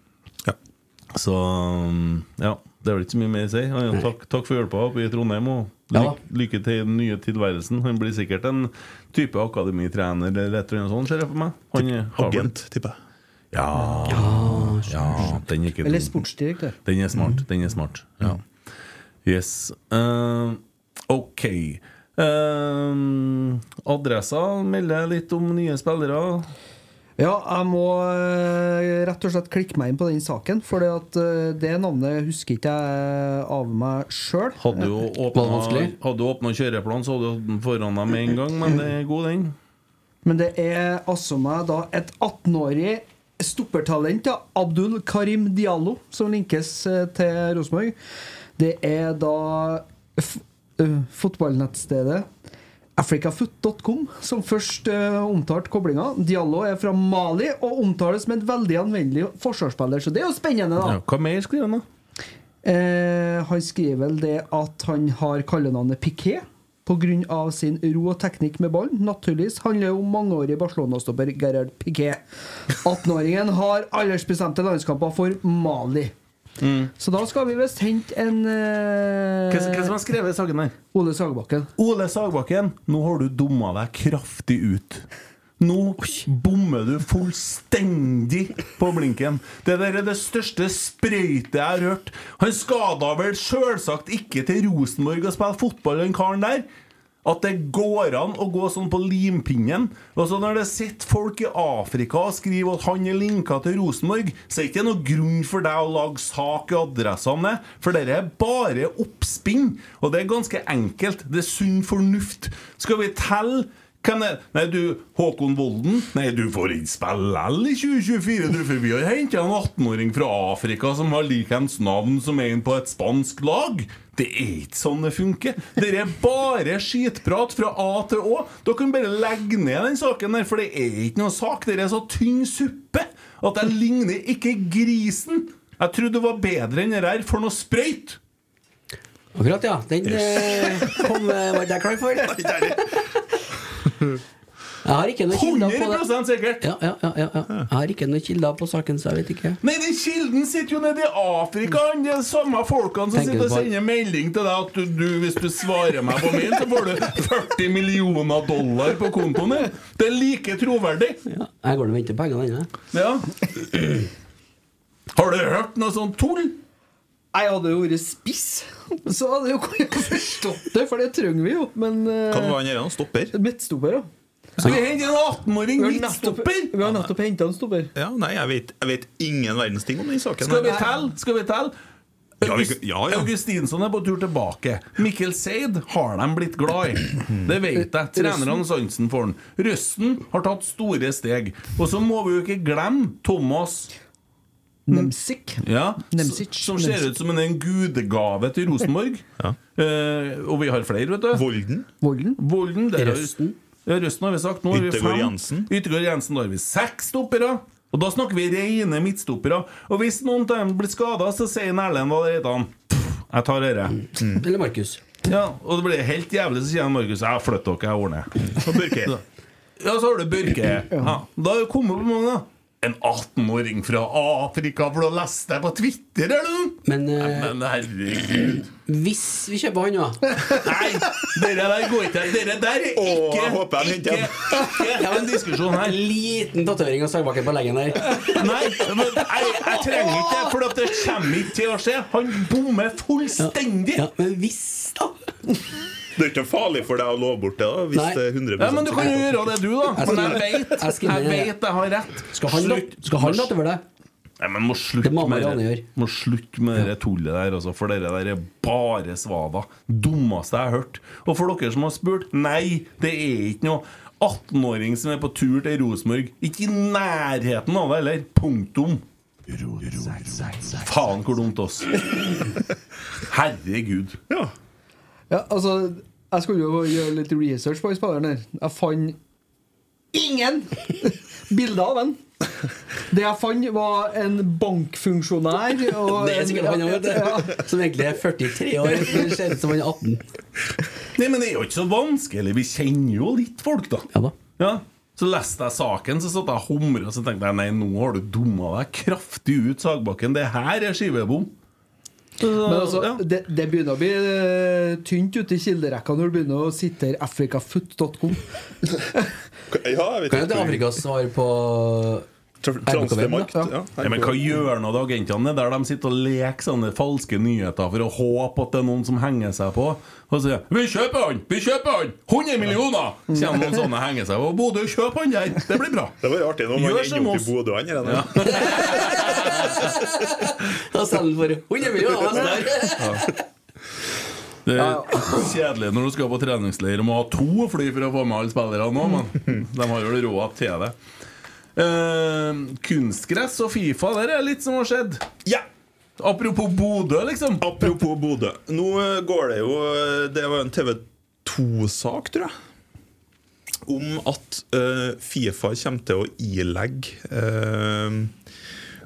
S1: Så mm, ja, det er vel ikke så mye mer å si. Ja, ja, takk, takk for hjelpa oppe i Trondheim. Og
S2: Ja da.
S1: lykke, lykke til i den nye tilværelsen. Han blir sikkert en type akademitrener eller et eller annet sånt, ser jeg for meg. Han har vel-
S3: Agent, tipper jeg.
S1: Ja, ja, den er ikke
S4: Eller
S1: dum.
S4: sportsdirektør. Mm.
S1: Den er smart. Den er smart. Ja. Yes. Eh, ok. Eh, adressa melder litt om nye spillere.
S4: Ja, jeg må eh, rett og slett klikke meg inn på den saken, for det navnet husker ikke jeg av meg sjøl.
S1: Hadde
S4: Eh,
S1: jo åpna- hadde jo åpna kjøreplan, så hadde du hatt den foran deg med en gang, men det er god, den.
S4: Men det er altså meg da et 18-årig stoppertalent, ja, Abdul Karim Diallo, som linkes eh, til Rosenborg. Det er da f eh, fotballnettstedet africafoot.com som først eh, omtalte koblinga. Diallo er fra Mali og omtales som en veldig anvendelig forsvarsspiller, så det er jo spennende, da.
S1: Ja, hva mer skriver han, da?
S4: Eh, han skriver vel det at han har kallenavnet Piqué pga. sin ro og teknikk med ballen. Naturligvis handler det om mangeårig Barcelona-stopper Gerhard Piqué. 18-åringen har aldersbestemte landskamper for Mali. Så da skal vi visst hente en eh,
S1: Hvem som- hvem som har skrevet saken der?
S4: Ole Sagbakken.
S1: Ole Sagbakken, nå har du dumma deg kraftig ut. Nå bommer du fullstendig på blinken. Det der er det største sprøytet jeg har hørt. Han skada vel sjølsagt ikke til Rosenborg og spille fotball, den karen der. At det går an å gå sånn på limpinnen. Og så når det sitter folk i Afrika og skriver at han er linka til Rosenborg, så er det ikke noe grunn for deg å lage sak i adressa om det. For dette er bare oppspinn. Og det er ganske enkelt. Det er sunn fornuft. Skal vi telle hvem det Nei, du, Håkon Volden. Nei, du får ikke spille L i 2024, du, for vi har henta en 18-åring fra Afrika som har likeens navn som en på et spansk lag. Det er ikke sånn det funker. Det er bare skitprat fra A til Å. Dere kan bare legge ned den saken der, for det er ikke noe sak. Det er så tynn suppe at jeg ligner ikke grisen. Jeg trodde du var bedre enn det her for noe sprøyt.
S2: Akkurat, ja. Den eh, kom eh, var ikke jeg klar for. Jeg har ikke noen kilder på det.
S1: 100% sikkert!
S2: Ja, ja, ja, ja, ja. Jeg har ikke noen kilder på saken, så jeg vet ikke.
S1: Nei, den kilden sitter jo nede i Afrika, han. Det er de samme folkene som
S2: Tenker
S1: sitter og
S2: på-
S1: sender melding til deg at du, du, hvis du svarer meg på mail, så får du 40 millioner dollar på kontoen din. Det er like troverdig.
S2: Jeg går og venter på pengene ennå.
S1: Ja. Har du hørt noe sånt tull?
S4: Jeg hadde jo vært spiss, så hadde jeg jo kunnet forstått det, for det trenger vi jo. Men eh,
S3: Kan det være han gjør, han stopper?
S4: Midtstopper, ja.
S3: Skal
S1: vi hente en 18-åring
S4: Vi har nettopp- Vi har nettopp henta en stopper.
S3: Ja, nei, jeg vet, jeg vet ingen verdens ting om den saken.
S1: Skal vi
S3: her.
S1: telle? Skal vi telle?
S3: Ja, vi- ja, ja.
S1: Augustinsson er på tur tilbake. Mikkel Seid har de blitt glad i. Det vet jeg. Trenerne har sansen for han. Røsten har tatt store steg. Og så må vi jo ikke glemme Thomas.
S4: Nemsik.
S1: Ja,
S4: Nemsic.
S1: Som ser
S4: Nemsic.
S1: ut som en- en gudegave til Rosenborg. Eh, og vi har flere, vet du.
S3: Volden.
S4: Volden,
S1: der har-
S3: Røsten.
S1: Ja, Røsten har vi sagt. Nå har vi
S3: Yttergård
S1: fem.
S3: Jansen.
S1: Yttergård Jensen. Da har vi seks stoppere. Og da snakker vi rene midtstoppere. Og hvis noen av dem blir skada, så sier en Erlend hva det heter han. «Pff, Jeg tar dette.
S2: Eller Markus.
S1: Ja, og det blir helt jævlig, så sier han Markus Jeg flytter dere, jeg ordner
S3: Og Børke.
S1: Ja, så har du Børke. Ja. Da har det kommet på mange, da. En 18-åring fra Afrika, for da leste jeg på Twitter, eller noe?
S2: Men, eh,
S1: Nei, men herregud.
S2: Hvis vi kjøper han, da.
S1: Dere der går ikke Dere der er ikke Ikke, ikke en diskusjon her.
S2: Liten tatovering av sagbakken på leggen der.
S1: Nei, men jeg, jeg trenger ikke det, for at det kommer ikke til å skje. Han bommer fullstendig.
S2: Ja, men hvis, da.
S3: Det er ikke farlig for deg å love bort det, da, hvis
S2: Nei.
S3: det er 100
S1: Ja, men du kan jo gjøre det, du, da.
S2: Jeg
S1: Men
S2: skriver-
S1: jeg vet
S2: jeg skriver
S1: jeg,
S2: ned det.
S1: vet jeg har rett.
S2: Skal han, da-
S1: Slutt.
S2: skal han datte over deg?
S1: Nei, men må slutte
S2: Det må
S1: med
S2: Marianne
S1: det
S2: gjøre.
S1: Må slutte med det tullet der, altså, for det der er bare svada. Dummeste jeg har hørt. Og for dere som har spurt nei, det er ikke noe. 18-åring som er på tur til Rosenborg. Ikke i nærheten av det heller. Punktum. Faen, hvor dumt, oss. Herregud.
S3: Ja.
S4: Ja, altså, jeg skulle jo gjøre litt research på spilleren her. Jeg fant ingen bilder av han. Det jeg fant, var en bankfunksjonær. Og
S2: Det er sikkert han òg, vet du. Som egentlig er 43 år. men Ser ut som han er 18.
S1: Nei, men det er jo ikke så vanskelig. Vi kjenner jo litt folk, da.
S2: Ja da.
S1: Ja. Så leste jeg saken, så satt jeg og humra og så tenkte jeg, nei, nå har du dumma deg kraftig ut, Sagbakken. Det her er skivebom. Så,
S4: Men altså,
S1: ja.
S4: det, det begynner å bli eh, tynt ute i kilderekka når du begynner å sitere africafoot.com.
S3: Ja, jeg vet
S2: Kan jeg til Afrikas svar på
S3: Tra- Transfermarkt. Ja.
S1: Nei, men hva gjør nå de agentene der de sitter og leker sånne falske nyheter for å håpe at det er noen som henger seg på? Og sier 'Vi kjøper han! Vi kjøper han! 100 millioner!' Kommer noen sånne henger seg på. 'Bodø, kjøp han der! Det blir bra'.
S3: Det var jo artig når man
S1: Gjør
S3: ender
S1: som
S3: opp i
S1: oss.
S3: Bodø han, eller?
S2: Da selger han for 100 millioner neste år.
S1: Det er kjedelig når du skal på treningsleir og må ha to fly for å få med alle spillerne nå, men de har jo råd til det. Eh, kunstgress og Fifa, der er litt som har skjedd.
S3: Ja.
S1: Apropos Bodø, liksom.
S3: Apropos Bodø. Nå eh, går det jo eh, Det var en TV2-sak, tror jeg. Om at eh, Fifa kommer til å ilegge eh,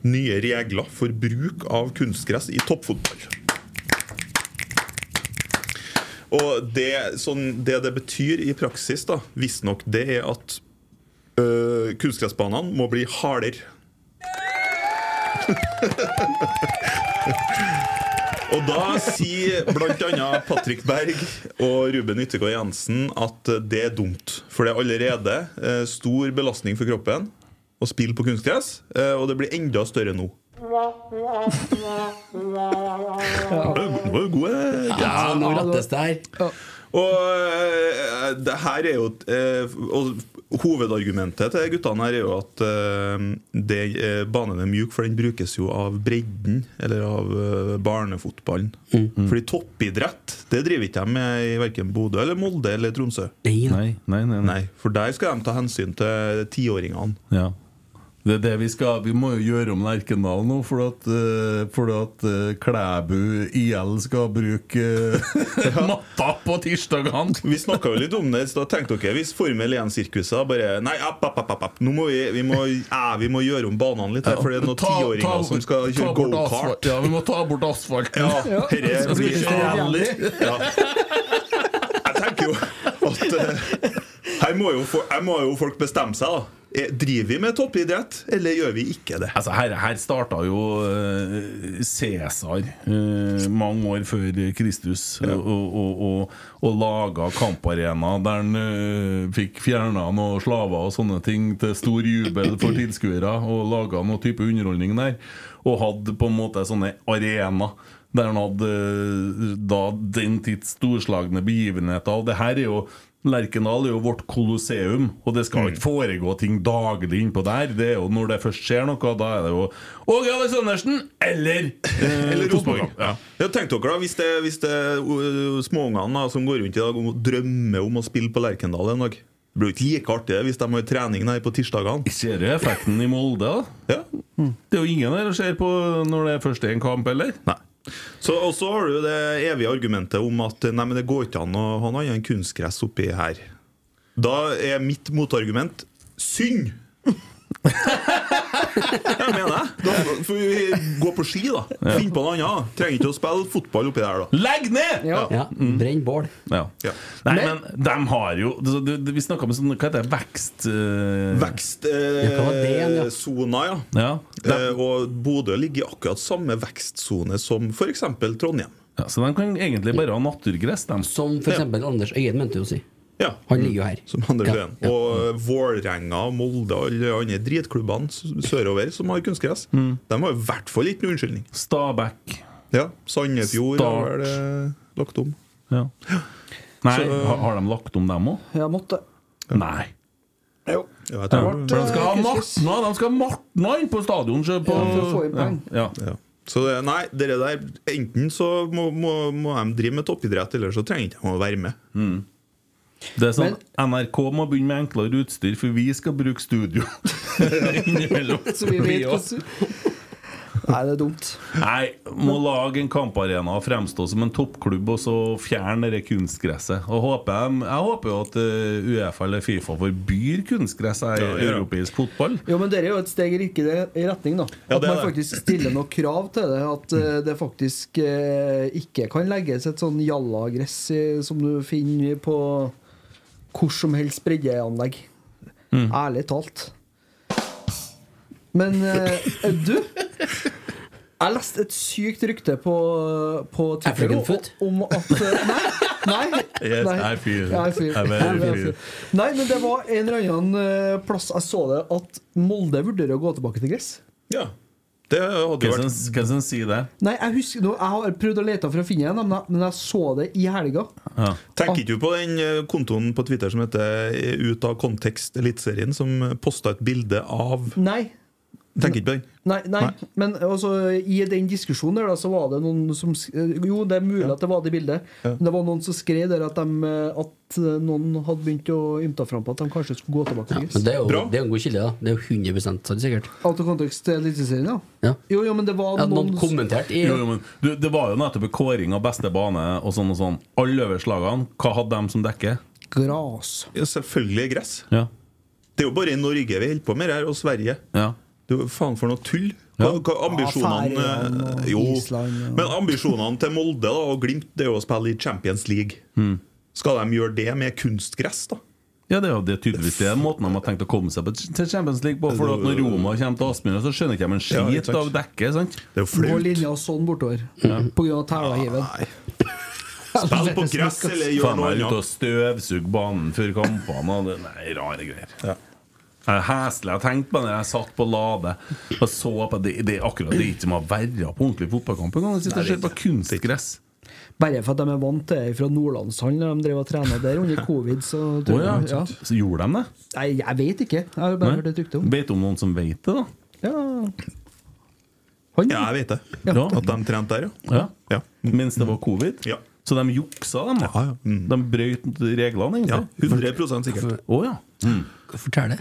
S3: nye regler for bruk av kunstgress i toppfotball. Og det, sånn, det det betyr i praksis, da, visstnok, det er at eh, kunstgressbanene må bli hardere. Og da sier bl.a. Patrick Berg og Ruben Yttergård Jensen at det er dumt. For det er allerede eh, stor belastning for kroppen å spille på kunstgress, eh, og det blir enda større nå. Det var jo god, eh,
S2: Ja, nå rattes det her.
S3: og eh, det her er jo eh, Og hovedargumentet til guttene her er jo at eh, det, eh, banen er mjuk, for den brukes jo av bredden, eller av eh, barnefotballen.
S1: Mm.
S3: Fordi toppidrett det driver ikke de med i verken Bodø eller Molde eller Tromsø.
S2: Nei,
S1: Nei, nei, nei.
S3: Nei, For der skal de ta hensyn til tiåringene.
S1: Ja. Det er det vi skal Vi må jo gjøre om Lerkendal nå, for at, eh, for at eh, Klæbu IL skal bruke eh, matta på tirsdagene.
S3: Vi snakka jo litt om det, så da tenkte dere hvis Formel 1-sirkuset bare Nei, app, app, app, app, app. Nå må vi, vi, må, eh, vi må gjøre om banene litt, her, for det er noen
S1: Ta- ta-
S3: tiåringer som skal
S1: ta
S3: kjøre
S1: bort asfalt.
S3: gokart.
S1: Ja, vi må ta bort asfalten.
S3: Ja, herre blir
S4: vi kjøre
S3: jævlig. Ja. Jeg tenker jo at eh, her her må jo, for, her må jo folk bestemme seg, da. Eh, Driver vi med toppidrett, eller gjør vi ikke det?
S1: Altså, her, her starta jo eh, Cæsar eh, mange år før Kristus og, og, og, og laga kamparena der han eh, fikk fjerna noen slaver og sånne ting til stor jubel for tilskuere, og laga noen type underholdning der. Og hadde på en måte sånne arena der han hadde eh, da den tids storslagne begivenheter. Og det her er jo Lerkendal er jo vårt kolosseum, og det skal ikke foregå ting daglig innpå der. Det er jo Når det først skjer noe, da er det jo Åge Aleksandersen eller eh,
S3: Eller Rosenborg.
S1: Ja.
S3: Ja, tenk dere da, hvis det, hvis det uh, småungene da, som går rundt i dag og drømmer om å spille på Lerkendal en dag Det blir jo ikke like artig hvis de har trening der på tirsdagene.
S1: Ser du effekten i Molde, da?
S3: Ja.
S1: Det er jo ingen der og ser på når det først er en kamp, eller?
S3: Nei. Så, og så har du det evige argumentet om at nei, men det går ikke an å ha noe annet enn kunstgress oppi her. Da er mitt motargument synd! Jeg mener det. Da får vi gå på ski, da.
S1: Ja.
S3: Finn på noe annet. Trenger ikke å spille fotball oppi der, da.
S1: Legg ned!
S3: Ja.
S2: Brenn bål.
S1: Ja. Nei, men, de har jo altså, du- du- Vi snakka om sånn, hva heter det, vekst... eh,
S3: Vekstsona, ja.
S1: Ja.
S3: Eh, Og Bodø ligger i akkurat samme vekstsone som f.eks. Trondheim.
S1: Ja, så de kan egentlig bare ha naturgress, de.
S2: Som f.eks. Anders Øyen mente jo å si.
S3: Ja.
S2: Han ligger jo her.
S3: Mm. Som Andre
S2: Ja,
S3: Øyen. Og eh, Vålerenga, Molde og alle andre dritklubbene s- sørover som har kunstgress, de har i hvert fall ikke noen unnskyldning.
S1: Stabæk.
S3: Ja. Sandefjord
S1: Start.
S3: har vel eh, lagt om.
S1: Ja. Nei,
S3: Så-
S1: har, har de lagt om dem òg?
S4: Jeg måtte.
S1: Nei.
S4: Jo.
S3: Ja, jeg
S1: Ja.
S3: tror-
S1: For de skal ha Martna De skal ha Martna inn på stadion! sjø, På,
S3: Ja, for å få inn
S1: ja.
S3: poeng.
S1: Ja.
S3: Ja. Så det, nei, dere der Enten så må, må, må de drive med toppidrett, eller så trenger ikke de å være med.
S1: Det er sånn NRK må begynne med enklere utstyr, for vi skal bruke studio. Innimellom.
S4: Så vi vet
S1: også.
S4: hvordan Nei, det er dumt.
S1: Nei, må lage en kamparena og fremstå som en toppklubb, og så fjerne det kunstgresset. Og håper jeg, jeg håper jo at eh, Uefa eller Fifa forbyr kunstgress her
S3: Ja,
S1: i
S3: ja.
S1: europeisk fotball.
S4: Jo, men dere er jo et steg i riktig i retning, da.
S1: Ja,
S4: At
S1: det Mm. er det.
S4: man faktisk stiller noen krav til det. At eh, det faktisk eh, ikke kan legges et sånn jallagress i- som du finner på hvor som helst breddeanlegg.
S1: Mm.
S4: Ærlig talt. Men eh, du Jeg leste et sykt rykte på, på Twitter
S2: African
S4: om,
S2: foot?
S4: om at eh, Nei! nei,
S1: Yes,
S4: nei.
S1: I feel it.
S4: Ja, I feel it.
S1: I very
S4: Ja, I
S1: feel
S4: feel
S1: it.
S4: it. Nei, men det var en eller annen eh, plass jeg så det, at Molde vurderer å gå tilbake til gress.
S3: Ja. Det hadde jo
S1: Hvem
S3: vært
S1: som- hvem som sier det?
S4: Nei, jeg husker nå, Jeg har prøvd å lete for å finne en, men jeg, men jeg så det i helga.
S1: Ja.
S3: Tenker ikke du på den eh, kontoen på Twitter som heter eh, Ut av kontekst Eliteserien, som eh, posta et bilde av
S4: Nei.
S3: Tenker ikke på den.
S4: Nei, nei, men altså, i den diskusjonen der da, så var det noen som sk- eh, Jo, det er mulig at det var det bildet, men det var noen som skrev der at, dem, eh, at noen hadde begynt å ymte fram på at de kanskje skulle gå tilbake til
S2: Men det er
S4: gress.
S2: jo det er jo en god kilde, da. Det er jo 100 sant, sikkert.
S4: Out of context til Eliteserien, ja. Jo, jo, men det var
S2: Ja, noen
S4: noen
S2: kommentert i
S1: Jo, jo, men du, Det var jo nettopp en kåring av beste bane og sånn og sånn. Alle øverslagene, hva hadde de som dekke?
S4: Gras.
S3: Ja, selvfølgelig er gress.
S1: Ja.
S3: Det er jo bare i Norge vi holder på med det her, og Sverige.
S1: Ja.
S3: Det er jo faen for noe tull. Hva, hva ambisjonene
S4: Ja, Færøyene og
S3: eh, Jo,
S4: Island og-
S3: men ambisjonene til Molde da, og Glimt Det er jo å spille i Champions League.
S1: Hmm.
S3: Skal de gjøre det med kunstgress, da?
S1: Ja, Det er jo det tydeligvis det er måten de har tenkt å komme seg på til Champions League på. For at når Roma kommer til Aspmyra, så skjønner ikke de
S3: Ja,
S1: en
S3: ikke
S1: skit
S3: sant.
S1: av dekket. sant?
S3: Det er jo
S4: Gå
S3: flaut.
S4: linja sånn bortover på grunn av tælahiven.
S3: Spill Ah, på gress eller gjør
S1: Faen
S3: noe
S1: meg ut og
S3: annet.
S1: støvsuge banen før kampene. og det- Nei, rare greier.
S3: Ja.
S1: Jeg er heslig. Jeg tenkte på det jeg satt på Lade og så på det, det er akkurat det ikke som å være på ordentlig fotballkamp engang. Jeg Sitter og
S3: Nei,
S1: ser
S3: det er
S1: på kunstgress.
S4: Bare for at de er vant til det fra Nordlandshallen, når de drev og trena der under covid. Så,
S1: Å ja. Så gjorde de det?
S4: Nei, jeg vet ikke. Jeg har bare
S1: Nei?
S4: hørt et rykte om
S1: Vet du om noen som vet det, da?
S4: ja.
S3: Ja, jeg vet det.
S1: Ja.
S3: At de trente der, ja.
S1: Ja.
S3: Ja.
S1: Mens det var covid?
S3: Ja. Mm.
S1: Så de juksa, de? da. De brøt reglene,
S3: ja
S1: egentlig?
S3: 100 sikkert.
S1: Å ja.
S2: Fortell det.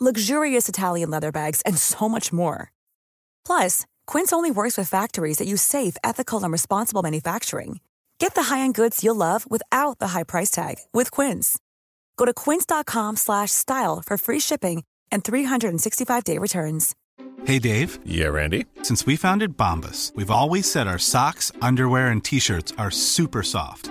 S6: luxurious Italian leather bags, and so much more. Plus, Quince only works with factories that use safe, ethical, and responsible manufacturing. Get the high-end goods you'll love without the high price tag with Quince. Go to quince.com slash style for free shipping and 365-day returns.
S7: Hey, Dave. Yeah, Randy. Since we founded Bombus, we've always said our socks, underwear, and t shirts are super soft.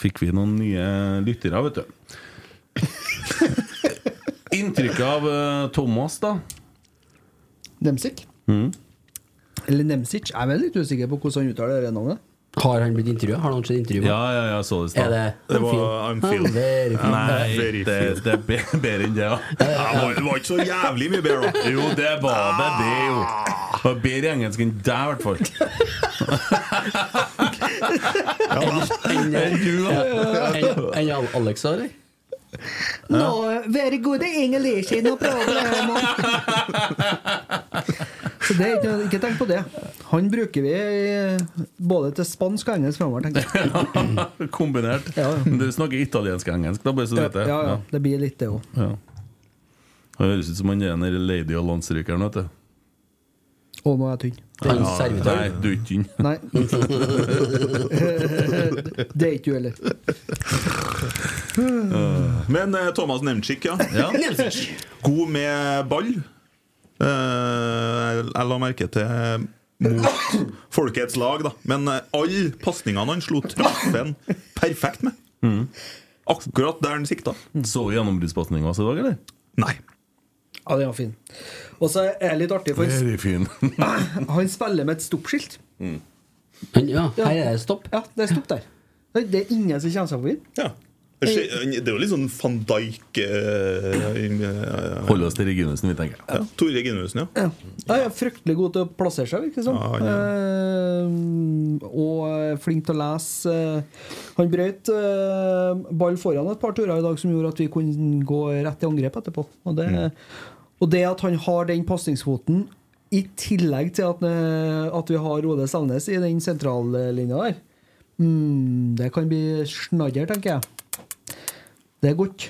S1: Fikk vi noen nye lyttere, vet du. Inntrykket av eh, Thomas, da?
S4: Nemsik?
S3: Mm.
S4: Eller Nemsic? Jeg er vel litt usikker på hvordan han uttaler det navnet.
S2: Har han blitt intervjua? Har noen sett intervjuet?
S1: Ja, ja, ja, jeg så det i
S2: Er
S1: stad.
S2: det- Det var- I'm Phil. I'm Phil. Very Phil.
S1: Nei,
S2: Very
S1: det,
S2: Phil.
S1: det er be- bedre enn det, ja.
S3: Ja, det var ikke så jævlig mye bedre, da.
S1: Jo, det var det, det, jo. Det var bedre engelsk enn deg, i hvert fall.
S2: Enn
S1: du,
S2: da? Enn Alex, eller?
S4: No, very good English, no problem. Så det er ikke, ikke tenk på det. Han bruker vi i- både til spansk og engelsk framover, tenker jeg.
S1: Kombinert. Du snakker italiensk og engelsk, da, bare så du vet det.
S4: Ja, ja, det blir litt det òg.
S1: Ja. Det høres ut som han er den der lady og landstrykeren, vet du.
S4: Og nå er jeg tynn.
S1: Ja, Nei, du er ikke tynn.
S4: Nei. det er ikke du heller.
S3: Men eh, Thomas Nemchik, ja.
S4: Ja. Nemchik.
S3: God med ball. Eh, jeg, jeg la merke til mot Folkets lag, da. Men eh, alle pasningene han slo traffen perfekt med. Akkurat der han sikta.
S1: Så du gjennombruddspasninga hans i dag, eller?
S3: Nei.
S4: Ja, den var fin. Og så er det litt artig, for
S1: Veldig fin.
S4: han spiller med et stoppskilt.
S2: Ja, her er det stopp.
S4: Ja, det er stopp der. Det det er ingen som kommer seg forbi.
S3: Ja. Det er jo litt sånn van Dijk uh,
S1: Hold oss til Reginussen, vi tenker.
S3: Ja, Tore Reginussen, ja.
S4: Ja. Jeg er fryktelig god til å plassere seg, virker det som.
S3: Ja, han
S4: Eh, og flink til å lese. Eh, Han brøt eh, ball foran et par turer i dag som gjorde at vi kunne gå rett i angrep etterpå. Og det,
S3: Mm.
S4: og det at han har den pasningsfoten i tillegg til at, eh, at vi har Rode Selnes i den sentrallinja der, mm, det kan bli snadder, tenker jeg. Det er godt.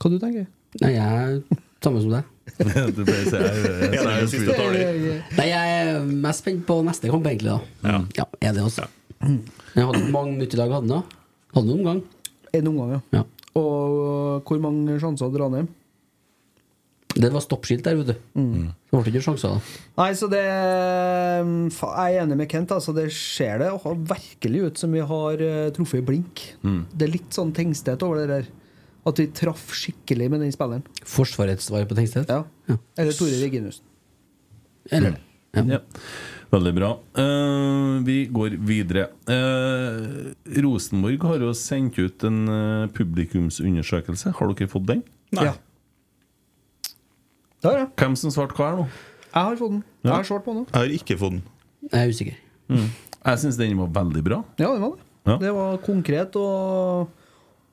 S4: Hva du tenker
S2: Nei, jeg er samme som deg.
S1: du pleier å si jeg
S2: er
S1: er siste
S4: taler.
S2: Nei, jeg er mest spent på neste kamp, egentlig. da Mm. Ja, er det også.
S1: Mm.
S2: Jeg hadde mange minutter i dag. Hadde den, da. Hadde den noen gang.
S4: En omgang,
S2: ja.
S4: Og hvor mange sjanser hadde Ranheim?
S2: Det var stoppskilt der, vet du.
S1: Mm.
S2: Så ble det ikke sjanser, da.
S4: Nei, så det mm, fa- Jeg er enig med Kent. Altså, det ser det har virkelig ut som vi har eh, truffet i blink.
S1: Mm.
S4: Det er litt sånn tengstet over det der. At vi traff skikkelig med den spilleren.
S2: Forsvarets svar på Tenkstedt.
S4: Ja. Eller Tore Reginussen.
S2: Eller
S1: Ja. Veldig bra. Eh, vi går videre. Eh, Rosenborg har jo sendt ut en eh, publikumsundersøkelse. Har dere fått den?
S4: Nei. Ja. Der, ja.
S1: Hvem som svarte hva her nå?
S4: Jeg har fått den.
S1: Ja.
S4: Jeg har svart på den.
S3: Jeg har ikke fått den.
S2: Jeg er usikker.
S1: Mm. Jeg syns den var veldig bra.
S4: Ja, det var det.
S1: Ja.
S4: Det var konkret og,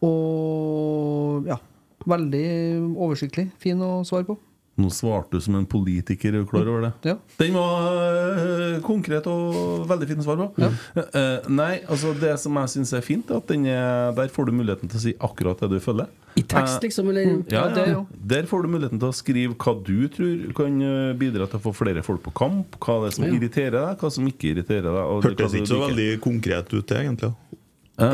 S4: og ja. Veldig oversiktlig. Fin å svare på.
S1: Nå svarte du som en politiker, er du klar over det?
S4: Ja.
S1: Den var eh, konkret og veldig fin å svare på. Eh, nei, altså det som jeg syns er fint, er at den er, der får du muligheten til å si akkurat det du føler.
S2: I tekst,
S1: Eh,
S2: liksom? Eller?
S1: Ja, ja. Der får du muligheten til å skrive hva du tror kan eh, bidra til å få flere folk på kamp. Hva det er som
S3: Ja.
S1: irriterer deg, hva som ikke irriterer deg. og hva
S3: Hørtes
S1: du
S3: ikke så
S1: liker.
S3: veldig konkret ut, det, egentlig.
S1: Eh,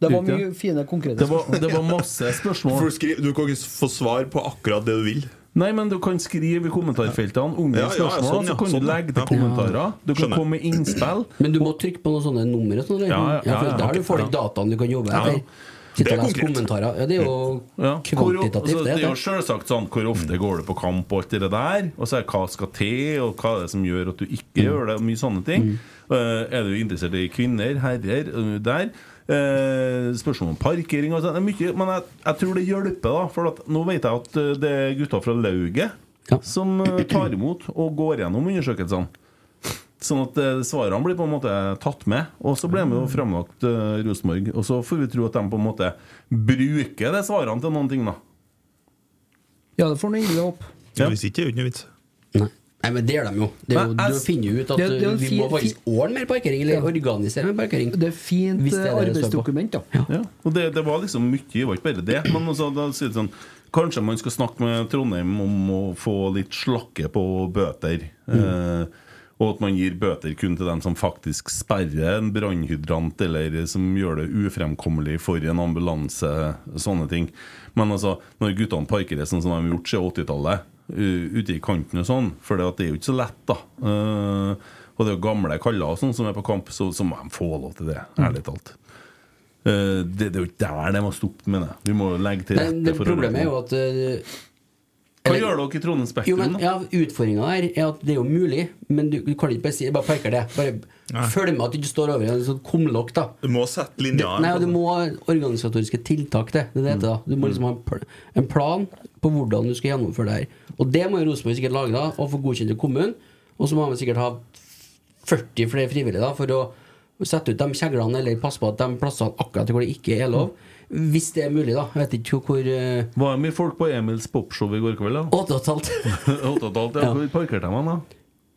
S4: Det var mye fine, konkrete spørsmål.
S1: masse spørsmål.
S3: Du, kan ikke få svar på akkurat det du vil.
S1: Nei, men du kan skrive i kommentarfeltene unge
S3: Ja, ja, ja,
S1: spørsmål,
S3: sånn, ja,
S1: så kan
S3: sånn,
S1: du
S3: ja.
S1: legge til
S3: Ja.
S1: kommentarer. Du kan
S3: Skjønner.
S1: komme med innspill.
S2: Men du må trykke på noen sånne numre. Sånn, eller?
S1: Ja, ja,
S2: for
S1: ja, ja,
S2: der
S1: ok,
S2: du får
S1: ja.
S2: de dataene du kan jobbe
S1: Ja, ja.
S2: etter. Sitte
S1: Det
S2: og
S1: er
S2: lese
S1: konkret.
S2: kommentarer. Ja, det er jo
S1: Ja. Hvor, altså, det
S2: kvantitativt, det.
S1: er jo selvsagt sånn Hvor ofte går du på kamp og alt det der? Og så er det hva skal til, og hva er det som gjør at du ikke gjør det? Og mye sånne ting. Eh, er du interessert i kvinner, herrer, eh, der? Eh, spørsmål om parkering og sånn. Det er mye, Men jeg, jeg tror det hjelper, da. For at, nå vet jeg at eh, det er gutter fra lauget som eh, tar imot og går gjennom undersøkelsene. Sånn at eh, svarene blir på en måte tatt med, og så blir de jo fremlagt eh, Rosenborg. Og så får vi tro at de på en måte bruker de svarene til noen ting, da.
S4: Ja, det får noe inderlig håp.
S3: Ja. Hvis ikke er det jo ikke noe vits.
S2: Nei, men det gjør de jo. Det er jo
S4: Nei, jeg-
S2: du finner jo ut at
S4: Det- det er jo en
S2: vi
S4: fin-
S2: må faktisk ordne mer parkering, eller organisere mer parkering.
S4: Det er fint
S2: Hvis det er det det står på.
S4: arbeidsdokument, da.
S1: Ja. Og det, det var liksom mye, det var ikke bare det. Men også, da sier det sånn Kanskje man skal snakke med Trondheim om å få litt slakke på bøter. Eh, og at man gir bøter kun til dem som faktisk sperrer en brannhydrant, eller som gjør det ufremkommelig for en ambulanse. Sånne ting. Men altså, når guttene parkerer sånn som de har gjort siden 80-tallet, u- ute i kanten og sånn, for det at det er jo ikke så lett, da. Eh, og det er jo gamle kaller og sånn som er på kamp, så, så må de få lov til det, ærlig talt. Eh, det, det er jo ikke der det må stoppe, mener jeg. Vi må jo legge til
S2: Nei,
S1: rette
S2: det
S1: for
S2: problemet er jo at eh,
S1: Hva gjør dere i Trondheim
S2: jo,
S1: Spektrum,
S2: men,
S1: da?
S2: ja, Utfordringa her er at det er jo mulig, men du, du kan ikke bare si Bare parker det. Bare følg med at du ikke står over i en sånn kumlokk, da.
S3: Du må sette
S2: Det,
S3: linja. altså.
S2: nei, og du må ha organisatoriske tiltak til. Det er det det heter, da. Du må liksom ha en pl- en plan på hvordan du skal gjennomføre det her. Og det må jo Rosenborg sikkert lage da, og få godkjent i kommunen. Og så må man sikkert ha 40 flere frivillige da, for å sette ut de kjeglene eller passe på at de plassene akkurat hvor det ikke er lov. Hvis det er mulig, da. Jeg vet ikke hvor eh,
S1: Var det mye folk på Emils popshow i går kveld, da?
S2: Åtte og et halvt.
S1: Åtte og et halvt, ja.
S2: Ja.
S1: Hvor parkerte de, da?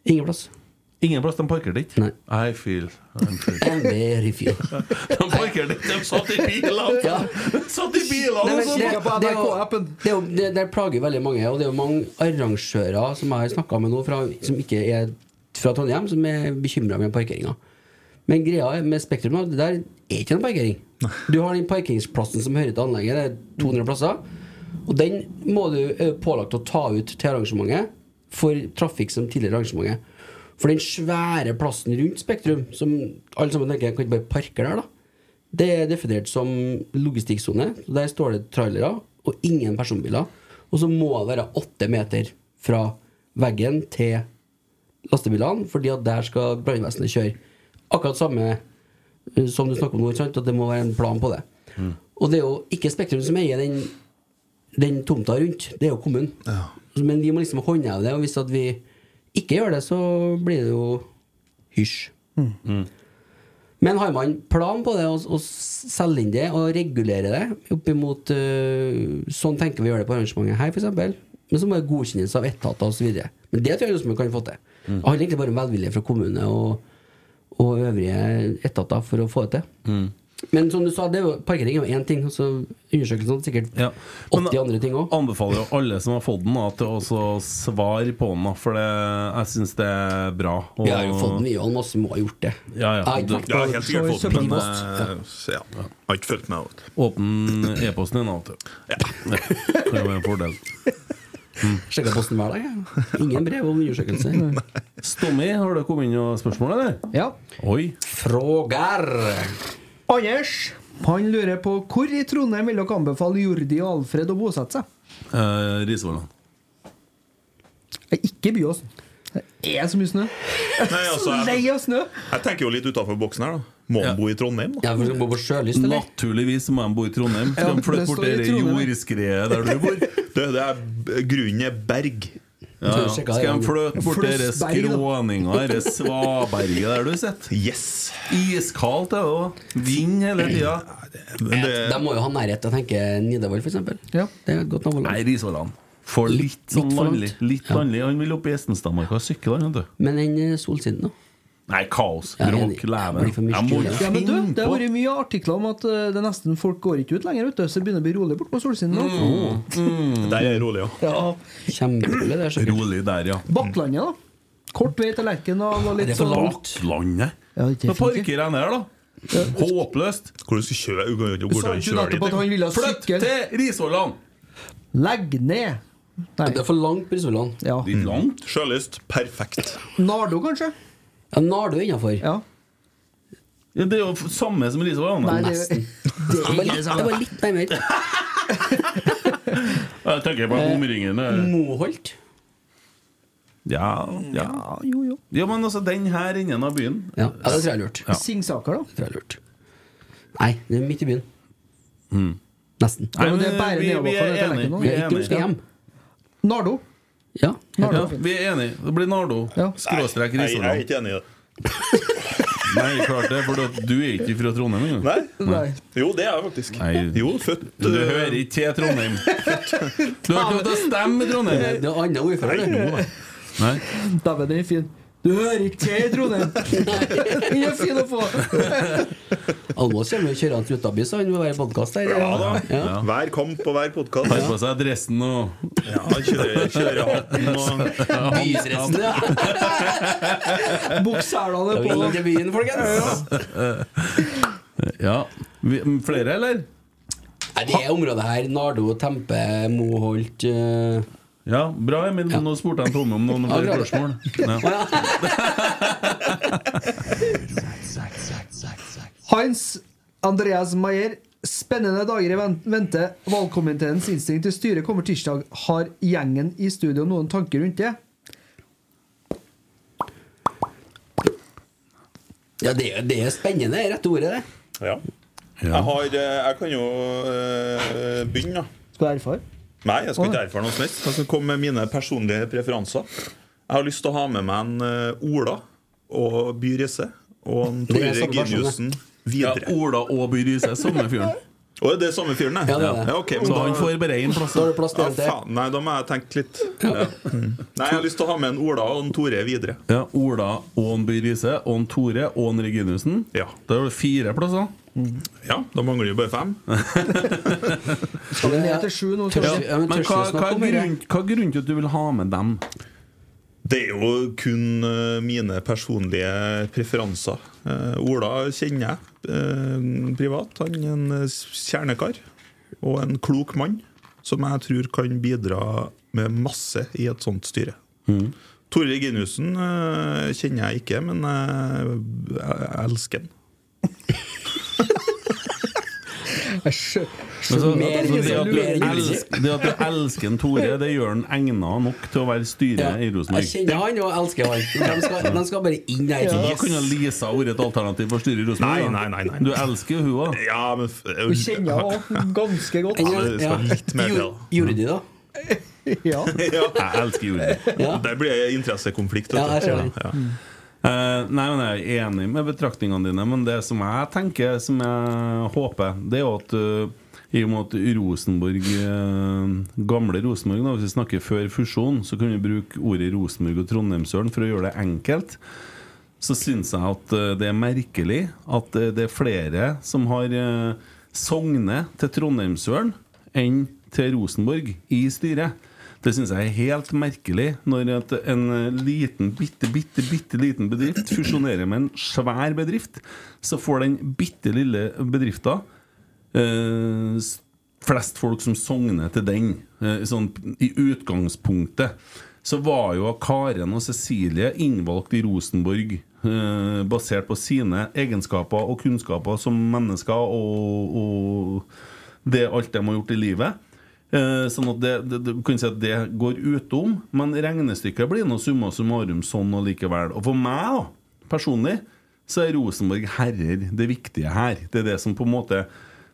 S2: Ingen plass.
S1: Ingen plass, de parkerte ikke? Nei. I feel I'm feel.
S2: Very few.
S1: de parkerte ikke, de satt i bilene!
S2: Ja.
S1: Satt i bilene!
S2: Nei,
S1: og
S2: men
S1: så-
S2: det- det er jo- det er jo- det- Det plager veldig mange, og det er jo mange arrangører som jeg har snakka med nå, fra, som ikke er fra Trondheim, som er bekymra med parkeringa. Men greia er- med Spektrum er at det der er ikke noen parkering. Du har den parkeringsplassen som hører til anlegget, det er 200 plasser. Og den må du er pålagt å ta ut til arrangementet for trafikk som tidligere arrangementet. For den svære plassen rundt Spektrum, som alle sammen tenker kan ikke bare parke der, da. Det er definert som logistikksone. Så Der står det trailere og ingen personbiler. Og så må det være åtte meter fra veggen til lastebilene, fordi at der skal brannvesenet kjøre. Akkurat samme eh, som du snakker om nå, ikke sant? at det må være en plan på det. Og det er jo ikke Spektrum som eier den, den tomta rundt, det er jo kommunen. Men vi må liksom håndheve det, og hvis at vi ikke gjør det, så blir det jo hysj. Men har man plan på det, og, og selge inn det og regulere det oppimot øh, Sånn tenker vi gjør det på arrangementet her, f.eks. Men så må det godkjennes av etater osv. Men det tror jeg Rosenborg kan få til.
S1: Mm.
S2: Det handler egentlig bare om velvilje fra kommune og, og øvrige etater for å få det til.
S1: Mm.
S2: Men som du sa, det er jo, parkering er jo én ting. Altså, undersøkelsen er sikkert
S1: Ja. eh,
S2: 80 andre ting òg.
S1: Anbefaler jo alle som har fått den, da, til å også svare på den, da, for det, jeg syns det er bra. og-
S2: Vi har jo fått den, vi og masse må ha gjort det.
S1: Ja, ja.
S2: Jeg har ikke vært på
S3: Ja, helt sikkert
S2: show i
S3: fått den, men
S2: Søppelpost. Ja.
S3: eh, så ja. Jeg har ikke fulgt med. vet du.
S1: Åpne e-posten din, da. vet du. Ja. Det kan jo være en fordel.
S2: Sjekker posten hver dag. jeg. Ingen brev om undersøkelse.
S1: Stommi, har du kommet inn og spørsmål, eller?
S4: Ja.
S1: Oi.
S2: Frågar.
S4: Anders han lurer på hvor i Trondheim vil dere anbefale Jordi og Alfred å bosette seg?
S1: Eh, Risvollan.
S4: Ikke Byåsen. Det er så mye snø.
S3: Nei, altså,
S4: Lei
S3: jeg,
S4: av snø!
S3: jeg tenker jo litt utafor boksen her, da. Må han bo i Trondheim, da?
S2: Ja, for du må bo på sjølyst, eller?
S1: Naturligvis må de bo i Trondheim. Skal
S3: Ja,
S1: de flytte
S3: det
S1: bort
S3: står i
S1: det
S3: Trondheim.
S1: jordskredet der du bor?
S3: Det, det er, grunnen er berg.
S1: Ja, ja. Skal de flytte bort det skråninga, det svaberget der du sitter?
S3: Yes!
S1: Iskaldt er det òg. Vind hele tida.
S2: De må jo ha nærhet til å tenke Nidarvoll, f.eks.
S4: Ja.
S2: Det er et godt nabolag.
S1: Nei, Risvollan. For litt sånn
S2: for langt.
S1: landlig. Litt landlig. Han vil opp i Estenstadmarka og sykle, han, vet du.
S2: Men den eh, solsiden, da?
S1: Nei, kaos.
S2: Ja,
S1: Bråk.
S2: enig.
S1: Leven.
S2: Det blir for mye
S1: Jeg må
S2: styr,
S1: jo
S2: ja.
S4: Ja, men du,
S1: finne
S4: Det
S1: på
S4: har vært mye artikler om at eh, det er nesten folk går ikke ut lenger, vet du, så det begynner å bli rolig bort på solsiden nå.
S2: Mm.
S3: Der er det rolig, ja.
S4: Ja.
S2: Kjemperolig, det er sikkert.
S1: Rolig der, ja.
S4: Bakklandet, da. Kort vei til Lerkendal og litt sånn
S1: Bakklandet.
S4: Ja, det er
S1: Da
S4: fint,
S1: parkerer jeg ned, da. Håpløst!
S3: Hvordan skal kjøre? Du kan jo ikke
S1: Du sa
S3: hvordan
S1: ikke
S3: kjøre
S1: nettopp
S3: dit,
S1: at han
S3: engang.
S1: ville ha Flytt sykkel. til Risvollan!
S4: Legg ned! Nei.
S2: Det er for langt på Risvollan.
S4: Ja.
S1: Litt
S3: Mm.
S1: langt.
S3: Sjølyst. Perfekt.
S4: Nardo, kanskje?
S2: Ja, Nardo er innafor.
S4: Ja.
S1: Ja, det er jo f- samme som Risvollan.
S2: Nei, det er- Nesten. Det var litt, det var litt nærmere.
S1: Jeg tenker på omringene.
S2: Moholt?
S1: Ja, ja.
S4: jo, jo.
S1: Ja, men altså den her innen av byen.
S2: Ja, ja, det tror jeg er lurt.
S1: Ja.
S4: Singsaker, da?
S2: Det tror jeg er lurt. Nei, det er midt i byen. Nesten.
S1: Nei, men det er bare
S4: nedover på dette lekket nå.
S2: Ja, ikke du skal hjem.
S4: Nardo.
S2: Ja,
S1: ja, vi er enige. Det blir Nardo. Skråstrek
S3: Nei, jeg er
S1: Risvollan.
S3: ikke enig i det.
S1: Nei, klart det, for da- du er ikke fra Trondheim engang.
S3: Nei? Jo, det er jeg faktisk. Jo, født
S1: Du hører ikke til Trondheim. Du har ikke lov til å stemme i Trondheim.
S2: Det er andre
S3: eh,
S2: ordfører, det.
S1: Nei.
S4: Dæven, den er fin. Du hører ikke til i Trondheim! Den er fin å få!
S2: Almås kommer og kjører han til Utaby, så han må være i podkast her.
S3: Ja da.
S2: Ja.
S3: Hver kamp og hver podkast.
S1: Har på seg dressen og
S3: Ja, kjører, kjører hatten og
S2: Bydressen, ja.
S4: Bukselene
S2: Det er jo
S4: er på.
S2: inn til byen, folkens.
S1: Ja. Vi, flere, eller?
S2: Nei, det er området her. Nardo, Tempe, Moholt eh,
S1: Ja, bra, Emil. Nå spurte jeg Tomme om noen
S2: Ja,
S1: flere
S2: bra.
S1: spørsmål. Ja.
S4: Hans Andreas Maier. Spennende dager i ven- vente. Valgkomiteens innstilling til styret kommer tirsdag. Har gjengen i studio noen tanker rundt det?
S2: Ja, det, er- det er spennende, det er rette ordet, det.
S3: Ja. Jeg, har, eh, jeg kan jo eh, begynne, da.
S4: Skal jeg erfare?
S3: Nei, jeg skal ikke erfare noe som helst. Jeg skal komme med mine personlige preferanser. Jeg har lyst til å ha med meg en eh, Ola og By Riise og en
S1: Det
S3: Tore
S1: er samme person,
S3: Giniussen
S1: det.
S3: videre.
S1: Ja, Ola og By Riise, samme fyren.
S3: Å, er det samme fyren,
S1: Ja, det er det.
S3: Ja, ok, men
S1: Så
S3: da-
S1: han får bare én plass.
S2: Da har du plass til
S3: Ja,
S2: en til.
S3: faen, nei, da må jeg tenke litt. Ja. Mm. Nei, jeg har lyst til å ha med en Ola og en Tore videre.
S1: Ja, Ola og en By Riise og en Tore og en Reginussen.
S3: Ja.
S1: Da er det fire plasser.
S3: Ja, da mangler det jo bare fem.
S4: Skal vi ned til sju nå?
S1: Ja.
S4: kanskje?
S1: Men hva, hva, er grunn, hva er grunnen til at du vil ha med dem?
S3: Det er jo kun eh, mine personlige preferanser. Eh, Ola kjenner jeg eh, privat. Han er en eh, kjernekar og en klok mann som jeg tror kan bidra med masse i et sånt styre. Tore Reginussen eh, kjenner jeg ikke, men eh, jeg jeg elsker han.
S4: Jeg skjø-
S1: Men så-
S4: skjønner at
S1: altså,
S4: det
S1: det, at
S4: er så
S1: du
S4: lurt.
S1: elsker, det at du elsker en Tore, det gjør han egna nok til å være styre i
S2: Jeg
S1: Rosenborg.
S2: kjenner han og elsker han. De skal, de skal bare inn her.
S1: Så Da
S2: Yes.
S1: kunne Lisa vært et alternativ for styret i
S3: Nei,
S1: Rosenborg. da.
S3: nei, nei, nei.
S1: Du elsker jo hun òg.
S3: Ja, men f- eh,
S4: Du kjenner henne ganske godt.
S3: Ja, men det skal litt mer til, da.
S2: Jordi, da?
S4: Ja.
S3: Ja.
S1: Jeg elsker Jordi.
S2: Ja.
S3: Der blir det interessekonflikt.
S2: Ja,
S3: vet
S2: jeg
S3: du.
S2: skjønner.
S3: Ja.
S4: Mm.
S1: Eh, nei, men Jeg er enig med betraktningene dine, men det som jeg tenker, som jeg håper, det er jo at eh, i og med at Rosenborg eh, Gamle Rosenborg, da, hvis vi snakker før fusjon, så kan vi bruke ordet Rosenborg og Trondheimsølen for å gjøre det enkelt. Så syns jeg at eh, det er merkelig at eh, det er flere som har eh, Sogne til Trondheimsølen enn til Rosenborg i styret. Det syns jeg er helt merkelig når at en eh, liten, bitte, bitte bitte liten bedrift fusjonerer med en svær bedrift. Så får den bitte lille bedrifta eh, s- flest folk som sogner til den. Eh, sånn, I utgangspunktet så var jo Karen og Cecilie innvalgt i Rosenborg eh, basert på sine egenskaper og kunnskaper som mennesker og, og det alt de har gjort i livet. Eh, Sånn at det, det, det, du kan si at det går utom, men regnestykket blir noe summa summarum sånn og likevel. Og for meg, da, personlig, så er Rosenborg herrer det viktige her. Det er det som på en måte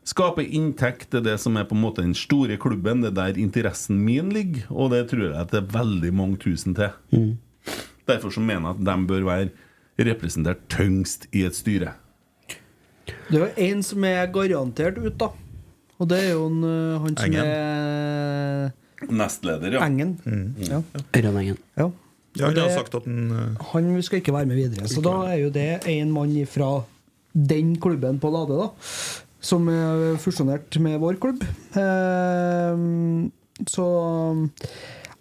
S1: skaper inntekt, det er det som er på en måte den store klubben, det er der interessen min ligger, og det tror jeg at det er veldig mange tusen til. Derfor så mener jeg at de bør være representert tyngst i et styre.
S4: Det er jo en som er garantert ut, da. Og det er jo en, øh, han som
S1: Engen.
S4: er
S1: Nestleder, ja.
S4: Engen. Ja.
S2: Ørjan Engen.
S4: Ja.
S3: Ja, han
S4: Og
S3: har
S4: det-
S3: sagt at han eh,
S4: Han skal ikke være med videre. Så da er jo det en mann fra den klubben på Lade, da. Som er fusjonert med vår klubb. Ehm, Så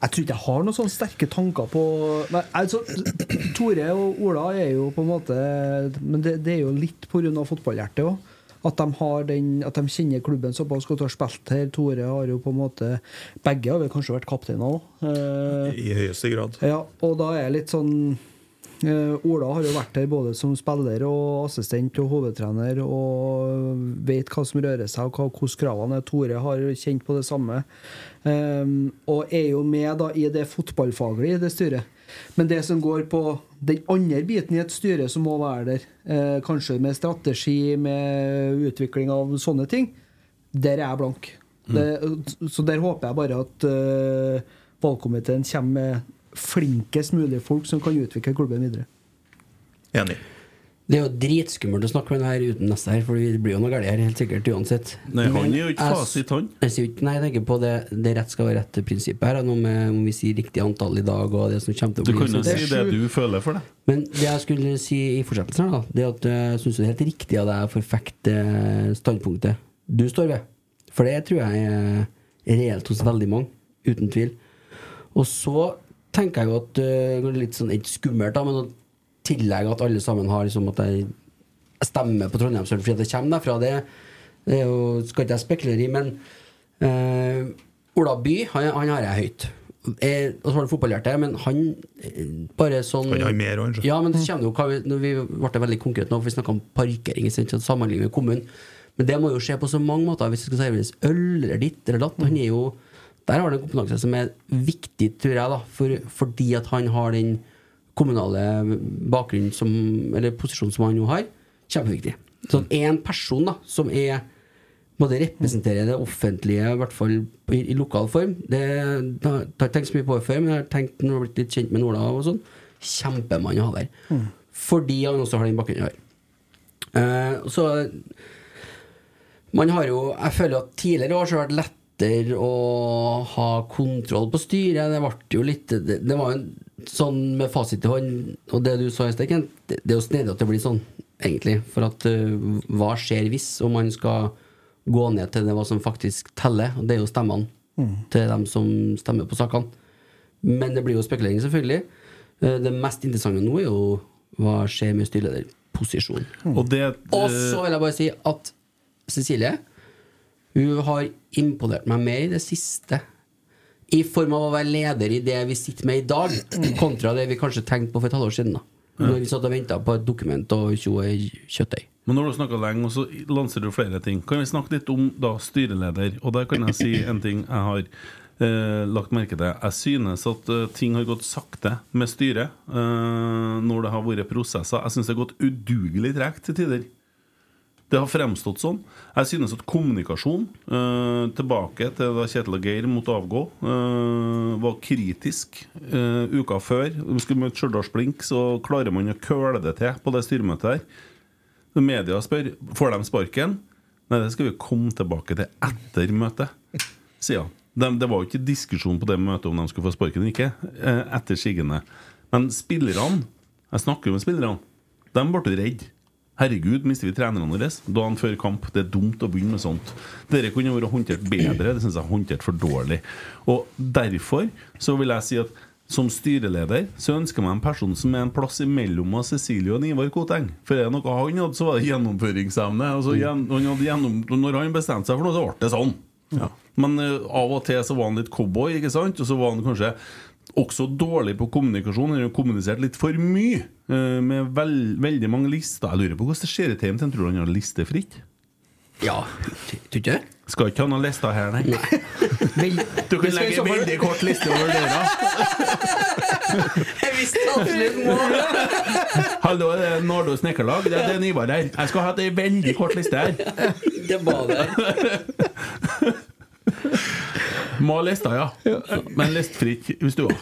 S4: Jeg tror ikke jeg har noen sånne sterke tanker på Nei, altså, Tore og Ola er jo på en måte Men det, det er jo litt pga. fotballhjertet òg. At de, har den, at de kjenner klubben såpass godt og har spilt her. Tore har jo på en måte Begge har vel kanskje vært kapteiner Eh, òg.
S3: eh, I høyeste grad.
S4: Ja, og da er jeg litt sånn eh, Ola har jo vært her både som spiller og assistent og hovedtrener og vet hva som rører seg og hva- hvordan kravene er. Tore har kjent på det samme. Ehm, og er jo med da i det fotballfaglige i det styret. Men det som går på den andre biten i et styre som må være der, eh, kanskje med strategi, med utvikling av sånne ting, der er jeg blank. Det, så der håper jeg bare at eh, valgkomiteen kommer med flinkest mulig folk som kan utvikle klubben videre.
S3: Enig.
S2: Det er jo dritskummelt å snakke med den her uten neste her, for det blir jo noe galt her, helt sikkert, uansett.
S1: Nei, han
S2: Men
S1: er jo ikke
S2: jeg-
S1: fasit, han.
S2: Jeg sier jo ikke- Nei, jeg tenker på det, det rett skal være rett-prinsippet her, og noe med om vi sier riktig antall i dag, og det som kommer til å
S1: Du
S2: bli
S1: kan jo
S2: sånn.
S1: si det du føler for deg.
S2: Men det jeg skulle si i fortsettelsen, her da Det er at jeg syns det er helt riktig av deg å forfekte standpunktet du står ved. For det tror jeg er reelt hos veldig mange. Uten tvil. Og så tenker jeg jo at eh, det er Litt sånn ikke skummelt, da, men å tillegge at alle sammen har liksom at jeg jeg stemmer på Trondheimsøl fordi det kommer derfra, det, det er jo, skal ikke jeg spekulere i, men eh, Ola By, han, han har jeg høyt. Eh, og så har du fotballhjertet, men han eh, bare sånn
S3: Han har mer, han, så.
S2: Ja, men det kommer jo hva vi, når vi ble det veldig konkret nå, for vi snakka om parkering, ikke sant, og sammenligning med kommunen. Men det må jo skje på så mange måter, hvis det skal serveres øl eller ditt eller datt. Han er jo Der har han en kompetanse som er viktig, tror jeg, da, for, fordi at han har den kommunale bakgrunnen som, eller posisjonen som han nå har, kjempeviktig. Så at en person da, som er både representerer det offentlige, i hvert fall i, i lokal form Det det har jeg ikke tenkt så mye på det før, men jeg har tenkt når jeg har blitt litt kjent med Ola og sånn. Kjempemann å ha der.
S4: Mm.
S2: Fordi han også har den bakgrunnen han har. Eh, og så man har jo, jeg føler at tidligere år så har det vært lettere å ha kontroll på styret. Det ble jo litt Det, det var jo en, sånn med fasit i hånd, og det du sa i sted, Kent, det, det er jo snedig at det blir sånn, egentlig. For at eh, hva skjer hvis, om man skal gå ned til det hva som faktisk teller, og det er jo stemmene
S4: Mm.
S2: til dem som stemmer på sakene. Men det blir jo spekulering, selvfølgelig. Eh, Det mest interessante nå er jo hva skjer med styrelederposisjonen.
S1: Og det
S2: Og så vil jeg bare si at Cecilie Hun har imponert meg mer i det siste. I form av å være leder i det vi sitter med i dag, kontra det vi kanskje tenkte på for et halvår siden. da Når vi satt og venta på et dokument og tjoe kjøttøy.
S1: Men nå har du snakka lenge, og så lanserer du flere ting. Kan vi snakke litt om da styreleder? Og der kan jeg si en ting jeg har eh, lagt merke til. Jeg synes at eh, ting har gått sakte med styret eh, når det har vært prosesser. Jeg synes det har gått udugelig tregt til tider. Det har fremstått sånn. Jeg synes at kommunikasjon eh, tilbake til da Kjetil og Geir måtte avgå, eh, var kritisk eh, uka før. Vi skulle møte Stjørdals Blink, så klarer man å køle det til på det styremøtet her. Når Media spør får de sparken. Nei, det skal vi komme tilbake til etter møtet, sier han. De, det var jo ikke diskusjon på det møtet om de skulle få sparken eller ikke. eh, Etter skiggene. Men spillerne Jeg snakker jo med spillerne. De ble redde. Herregud, mister vi trenerne våre dagen før kamp? Det er dumt å begynne med sånt. Dette kunne vært håndtert bedre. Det syns jeg er håndtert for dårlig. Og Derfor så vil jeg si at som styreleder så ønsker jeg meg en person som er en plass imellom av Cecilie og Ivar Koteng. For er det noe han hadde, så var det gjennomføringsevne. Altså,
S2: Mm.
S1: gjen, han hadde gjennom, når han bestemte seg for noe, så ble det sånn. Men eh, av og til så var han litt cowboy, ikke sant? Og så var han kanskje også dårlig på kommunikasjon. Han har kommunisert litt for mye eh, med vel, veldig mange lister. Jeg lurer på hvordan det ser ut hjemme. Tror du han har listefritt?
S2: Ja, tror ikke
S1: Skal ikke han ha lista her, nei? Du kan
S2: Det skal i
S1: legge
S2: så
S1: en
S2: fall-
S1: veldig kort liste over døra.
S2: Jeg visste absolutt
S1: Hallo, det er Nardo Snekkerlag. Det er Ivar her. Jeg skal ha ei veldig kort liste her.
S2: Det var det.
S1: Må ha lista, ja. Men listfri ikke hvis du har.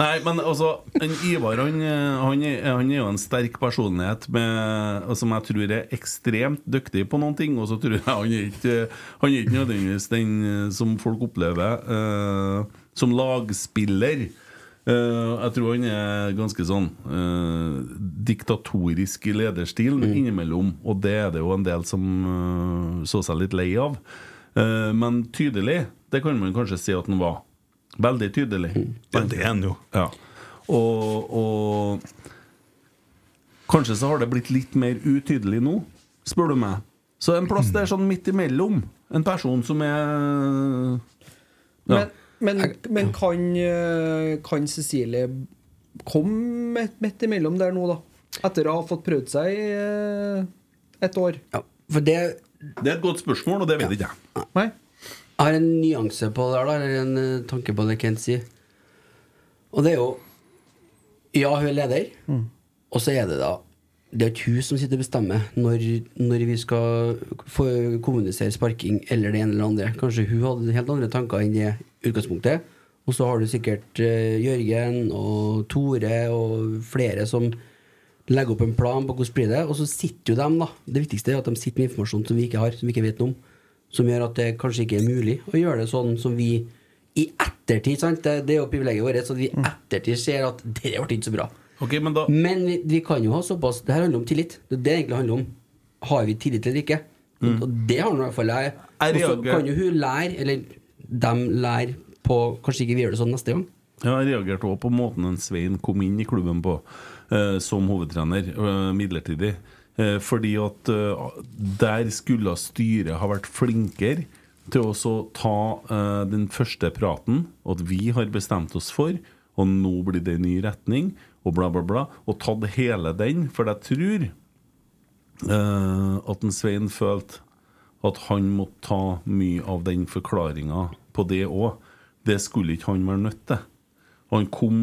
S1: Nei, men altså en Ivar han, eh, han, er- han er jo en sterk personlighet med, og som jeg tror er ekstremt dyktig på noen ting. Og så tror jeg han er ikke Han er ikke nødvendigvis den eh, som folk opplever eh, som lagspiller. Eh, jeg tror han er ganske sånn eh, diktatorisk i lederstil, men innimellom. Og det er det jo en del som eh, så seg litt lei av. Eh, men tydelig, det kan man kanskje si at han var. Veldig tydelig. Ja, det er han jo. Og, og kanskje så har det blitt litt mer utydelig nå, spør du meg. Så en plass der sånn midt imellom. En person som er ja.
S4: Men, men kan, eh, kan Cecilie komme midt- midt imellom der nå, da? Etter å ha fått prøvd seg i eh, et år?
S2: For det
S1: Det er et godt spørsmål, og det vet ikke jeg.
S2: Jeg har en nyanse på det her, da, eller en eh, tanke på det Kent sier. Og det er jo Ja, hun er leder, og så er det da Det er ikke hun som sitter og bestemmer når, når vi skal få kommunisere sparking eller det ene eller det andre. Kanskje hun hadde helt andre tanker enn det utgangspunktet. Og så har du sikkert eh, Jørgen og Tore og flere som legger opp en plan på hvordan blir det og så sitter jo dem, da. Det viktigste er at de sitter med informasjon som vi ikke har, som vi ikke vet noe om. Som gjør at det kanskje ikke er mulig å gjøre det sånn som vi i ettertid sant? Det, det er jo privilegiet vårt, så at vi i ettertid ser at det ble ikke så bra.
S1: men
S2: vi, vi kan jo ha såpass Det her handler om tillit. Det er det det egentlig handler om. Har vi tillit eller ikke?
S1: Mm.
S2: Og det har nå i hvert fall jeg.
S1: Jeg
S2: Og så
S1: reagerer-
S2: kan jo hun lære, eller dem lære, på Kanskje ikke vi gjør det sånn neste gang.
S1: Ja, jeg reagerte også på måten en Svein kom inn i klubben på eh, som hovedtrener, eh, midlertidig. Eh, fordi at eh, der skulle styret ha vært flinkere til å så ta eh, den første praten, at vi har bestemt oss for, og nå blir det en ny retning, og bla, bla, bla. Og tatt hele den, for jeg tror eh, at en Svein følte at han måtte ta mye av den forklaringa på det òg. Det skulle ikke han være nødt til. Han kom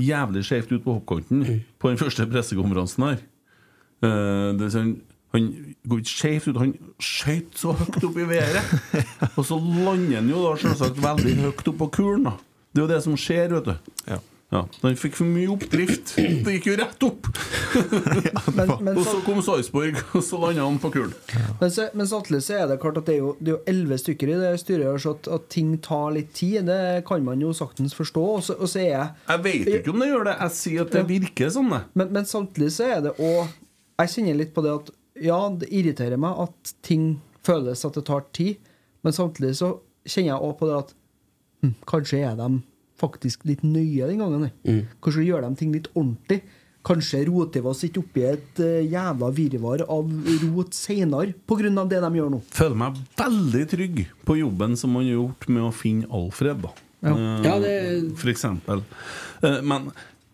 S1: jævlig skjevt ut på hoppkanten på den første pressekonferansen her. Eh, det vil si han, han går ikke skjevt ut, han skjøt så høyt opp i været! og så lander han jo da selvsagt veldig høyt opp på kulen, da. Det er jo det som skjer, vet du. Ja. så han fikk for mye oppdrift. Det gikk jo rett opp!
S4: men
S1: og så kom Sarpsborg, og så landa han på kulen.
S4: Men så- Men samtidig så er det klart at det er jo- det er jo elleve stykker i det styret, her, så at, at ting tar litt tid, det kan man jo saktens forstå. Og så, og så er jeg
S1: Jeg vet jo ikke om det gjør det. Jeg sier at det virker sånn, det.
S4: Men, men samtidig så er det òg Jeg kjenner litt på det at ja, det irriterer meg at ting føles at det tar tid, men samtidig så kjenner jeg òg på det at hm, kanskje er de faktisk litt nøye den gangen. her.
S2: Mm.
S4: Kanskje gjør de ting litt ordentlig. Kanskje roter vi oss ikke oppi et eh, jævla virvar av rot seinere pga. det de gjør nå.
S1: Føler meg veldig trygg på jobben som man har gjort med å finne Alfred, da.
S4: Ja.
S1: Eh,
S4: Ja, det-
S1: For eksempel. Eh, Men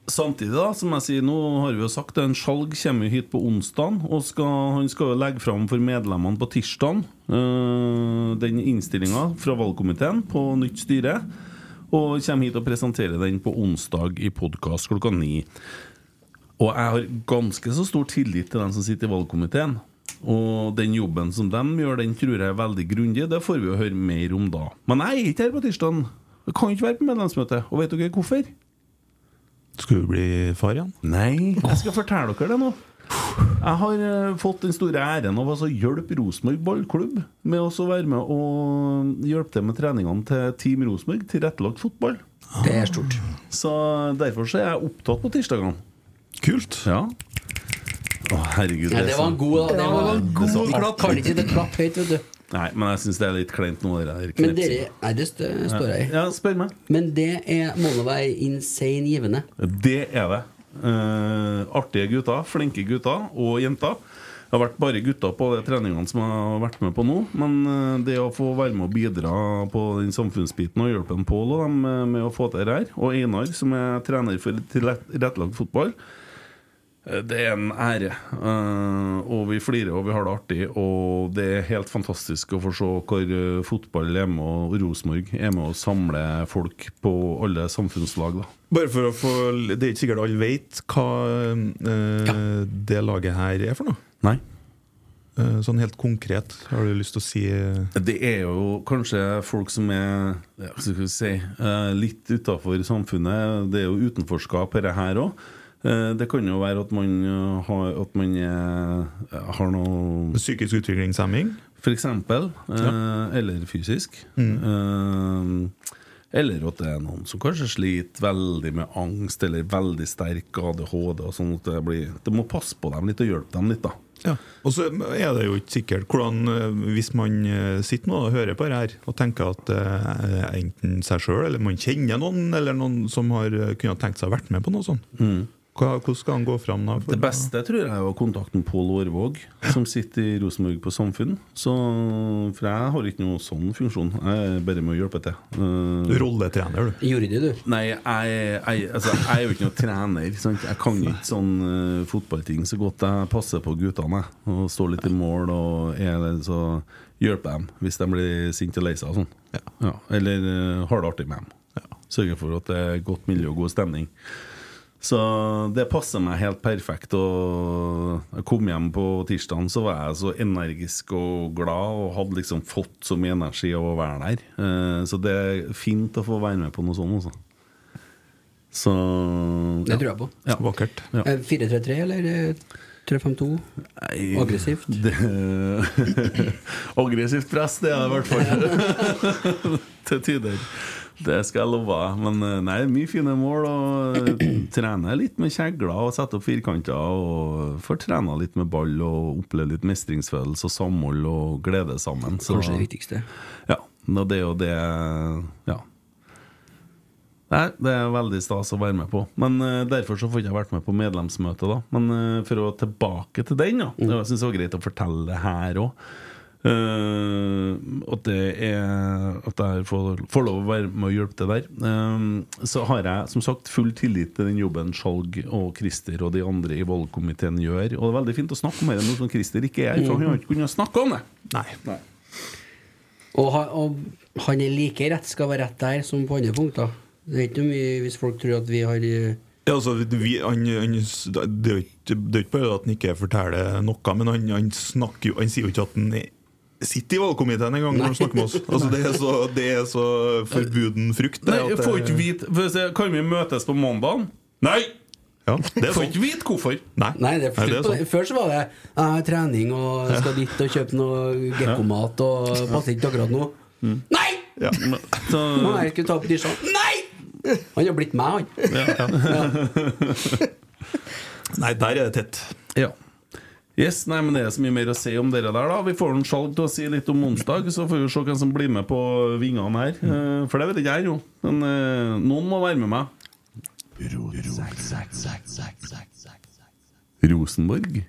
S1: samtidig, da, som jeg sier, nå har vi jo sagt det, en Skjalg kommer jo hit på onsdag, og skal, han skal jo legge fram for medlemmene på tirsdag eh, den innstillinga fra valgkomiteen på nytt styre. Og kommer hit og presenterer den på onsdag i podkast klokka ni. Og jeg har ganske så stor tillit til dem som sitter i valgkomiteen. Og den jobben som de gjør, den tror jeg er veldig grundig. Det får vi jo høre mer om da. Men jeg er ikke her på tirsdag. Jeg kan ikke være på medlemsmøte. Og vet dere hvorfor?
S3: Skulle du bli far igjen?
S1: Nei, jeg skal fortelle dere det nå. Jeg har eh, fått den store æren av å altså hjelpe Rosenborg ballklubb med å så være med og hjelpe til med treningene til Team Rosenborg, tilrettelagt fotball.
S2: Det er stort.
S1: Så derfor så er jeg opptatt på tirsdagene. Kult. Ja. Å, herregud.
S2: Ja,
S1: er
S2: det
S1: så-
S2: var en god, da. Det var,
S1: Det er så-
S2: Kan ikke sitte klapp høyt, vet du.
S1: Nei, men jeg syns det er litt kleint nå, det der
S2: Men dere,
S1: knipsingen.
S2: nei, det stø- står jeg i.
S1: Ja, spør meg.
S2: Men det er, må nå være insane givende.
S1: Det er det. Eh, artige gutter, flinke gutter og jenter. Det har vært bare gutter på de treningene som jeg har vært med på nå. Men eh, det å få være med og bidra på den samfunnsbiten og hjelpe en Pål og dem eh, med å få til det her, og Einar, som er trener for tilrettelagt fotball, eh, det er en ære. Eh, og vi flirer og vi har det artig, og det er helt fantastisk å få se hvor eh, fotball er med, og Rosenborg er med og samler folk på alle samfunnslag. da
S3: Bare for å få Det er ikke sikkert alle vet hva eh, det laget her er for noe.
S1: Nei.
S3: sånn helt konkret, har du lyst til å si eh,
S1: Det er jo kanskje folk som er ja, hva skal vi si, eh, litt utafor samfunnet. Det er jo utenforskap dette her òg. Det kan jo være at man eh, har, at man eh, har noe
S3: Psykisk utviklingshemming?
S1: For eksempel. eh,
S3: Ja.
S1: Eller fysisk. Eh, Eller at det er noen som kanskje sliter veldig med angst eller veldig sterk ADHD. og sånn at det blir... Det må passe på dem litt og hjelpe dem litt, da.
S3: Og så er det jo ikke sikkert hvordan eh, Hvis man eh, sitter nå og hører på det her og tenker at eh, enten seg sjøl eller man kjenner noen, eller noen som har eh, kunne ha tenkt seg å vært med på noe sånt, hva, hvordan skal han gå fram da?
S1: Mm. Det beste tror jeg er å kontakte Pål Årvåg, som sitter i Rosenborg på Samfunn. Så, for jeg har ikke noe sånn funksjon. Jeg er bare med å hjelpe til. Eh,
S3: Du er rolletrener,
S2: du? Jordi, du?
S1: Nei, jeg, jeg, altså, jeg er jo ikke noen trener. Sant? Jeg kan ikke sånn eh, fotballting så godt. Jeg passer på guttene jeg, og står litt i mål og er det, så hjelper dem hvis de blir sinte og lei seg og sånn. Ja. Eller eh, har det artig med dem. Sørger for at det er godt miljø og god stemning. Så det passer meg helt perfekt. Og jeg kom hjem på tirsdagen, så var jeg så energisk og glad og hadde liksom fått så mye energi av å være der. Eh, Så det er fint å få være med på noe sånt, altså. Så
S2: Det tror jeg på.
S1: Ja.
S3: Vakkert.
S1: Ja.
S2: Eh, 4-3-3 eller eh, 3-5-2? Aggressivt?
S1: Det, aggressivt press, det er det i hvert fall. Til tider. Det skal jeg love. deg. Men eh, nei, mye fine mål. Og trene litt med kjegler og sette opp firkanter. Og får trena litt med ball og oppleve litt mestringsfølelse og samhold og glede sammen. Så-
S2: Kanskje det viktigste.
S1: Ja. Og det er jo det Ja. Nei, Det er veldig stas å være med på. Men eh, Derfor så får jeg ikke vært med på medlemsmøtet. da Men eh, for å tilbake til den, da. Det var- Jeg syns det var greit å fortelle det her òg. at det er At jeg får, får lov å være med og hjelpe til der. Eh, så har jeg som sagt full tillit til den jobben Skjalg og Christer og de andre i valgkomiteen gjør. Og det er veldig fint å snakke om det nå som Christer ikke er her, for han har ikke kunnet snakke om det. Nei.
S2: Og, ha- og han er like rett skal være rett der som på andre punkter. Det er ikke noe mye hvis folk tror at vi har eh,
S3: Ja, altså, vi, han, han, det er jo ikke- det er jo ikke bare at han ikke forteller noe, men han, han snakker jo Han sier jo ikke at han er- sitter i valgkomiteen engang når han snakker med oss. Altså, det, er så, det er så forbuden frukt. det,
S1: Nei,
S3: at
S1: jeg
S3: det-
S1: får ikke vite for å si, Kan vi møtes på mandag? Nei!
S3: Ja, det er
S1: får
S3: sånn.
S1: ikke vite hvorfor.
S3: Nei,
S2: Nei, det er
S3: Nei,
S2: slutt
S3: det er sånn.
S2: på det. Før så var det eh, trening og skal dit og kjøpe noe gekkomat og passer ikke akkurat nå. Nei!
S1: Så,
S2: Nå er jeg skulle ta opp dysja. Nei! Han har blitt meg, han.
S3: Nei, der er det tett.
S1: Ja. Yes, nei, men Det er så mye mer å si om dere der. da Vi får en Skjalg til å si litt om onsdag, så får vi se hvem som blir med på vingene her. Eh, For det vet ikke jeg, jo. Men eh, noen må være med meg. Rosenborg?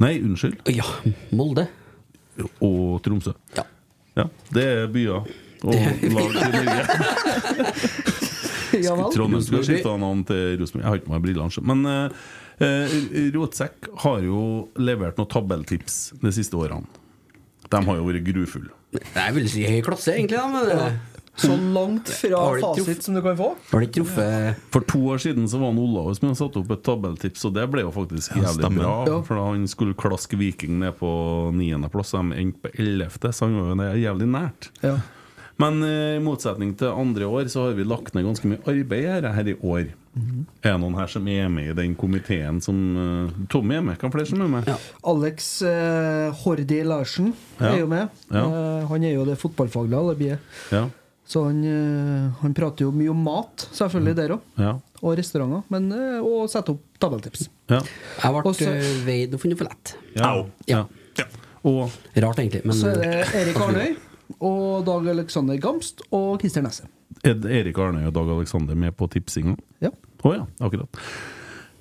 S1: Nei, unnskyld.
S2: Ja, Molde.
S1: Og Tromsø.
S2: Ja.
S1: det er byer og lag i Norge.
S4: Ja vel.
S1: Trondheim skulle ha skifta navn til Rosenborg. Jeg har ikke med meg brillene. sjøl. Men eh, eh, Rotsekk har jo levert noen tabelltips de siste årene. De har jo vært grufulle.
S2: Jeg vil si høy klasse, egentlig. Da, men det...
S4: Så langt fra
S2: Har du ikke
S4: fasit som du kan få.
S2: Har det truffet
S1: For to år siden så var han Olaus som hadde satt opp et tabelltips, og det ble jo faktisk
S3: Ja,
S1: jævlig
S3: stemmer.
S1: bra.
S3: Ja.
S1: For da han skulle klaske Viking ned på niendeplass, og de endte på ellevte, så han var jo ned- jævlig nært. Men eh, i motsetning til andre år, så har vi lagt ned ganske mye arbeid her, her i år. Er det noen her som er med i den komiteen som eh, Tommy er med? Hva er flere som er med?
S4: Alex eh, Hordi Larsen
S1: Ja.
S4: er jo med.
S1: Ja.
S4: Eh, han er jo det fotballfaglige alibiet.
S1: Ja.
S4: Så han, eh, han prater jo mye om mat, selvfølgelig, der òg.
S1: Ja.
S4: Og restauranter. Men, eh, og setter opp tabelltips.
S1: Ja.
S2: Jeg ble eh, veid og funnet for lett.
S1: Au.
S2: Ja.
S1: Og
S2: Rart, egentlig. Men eh,
S4: Så er det Erik Arnøy og Dag Alexander Gamst og Christer Nesse.
S1: Er Erik Arnøy og Dag Aleksander med på tipsinga?
S4: Ja.
S1: Å ja, akkurat.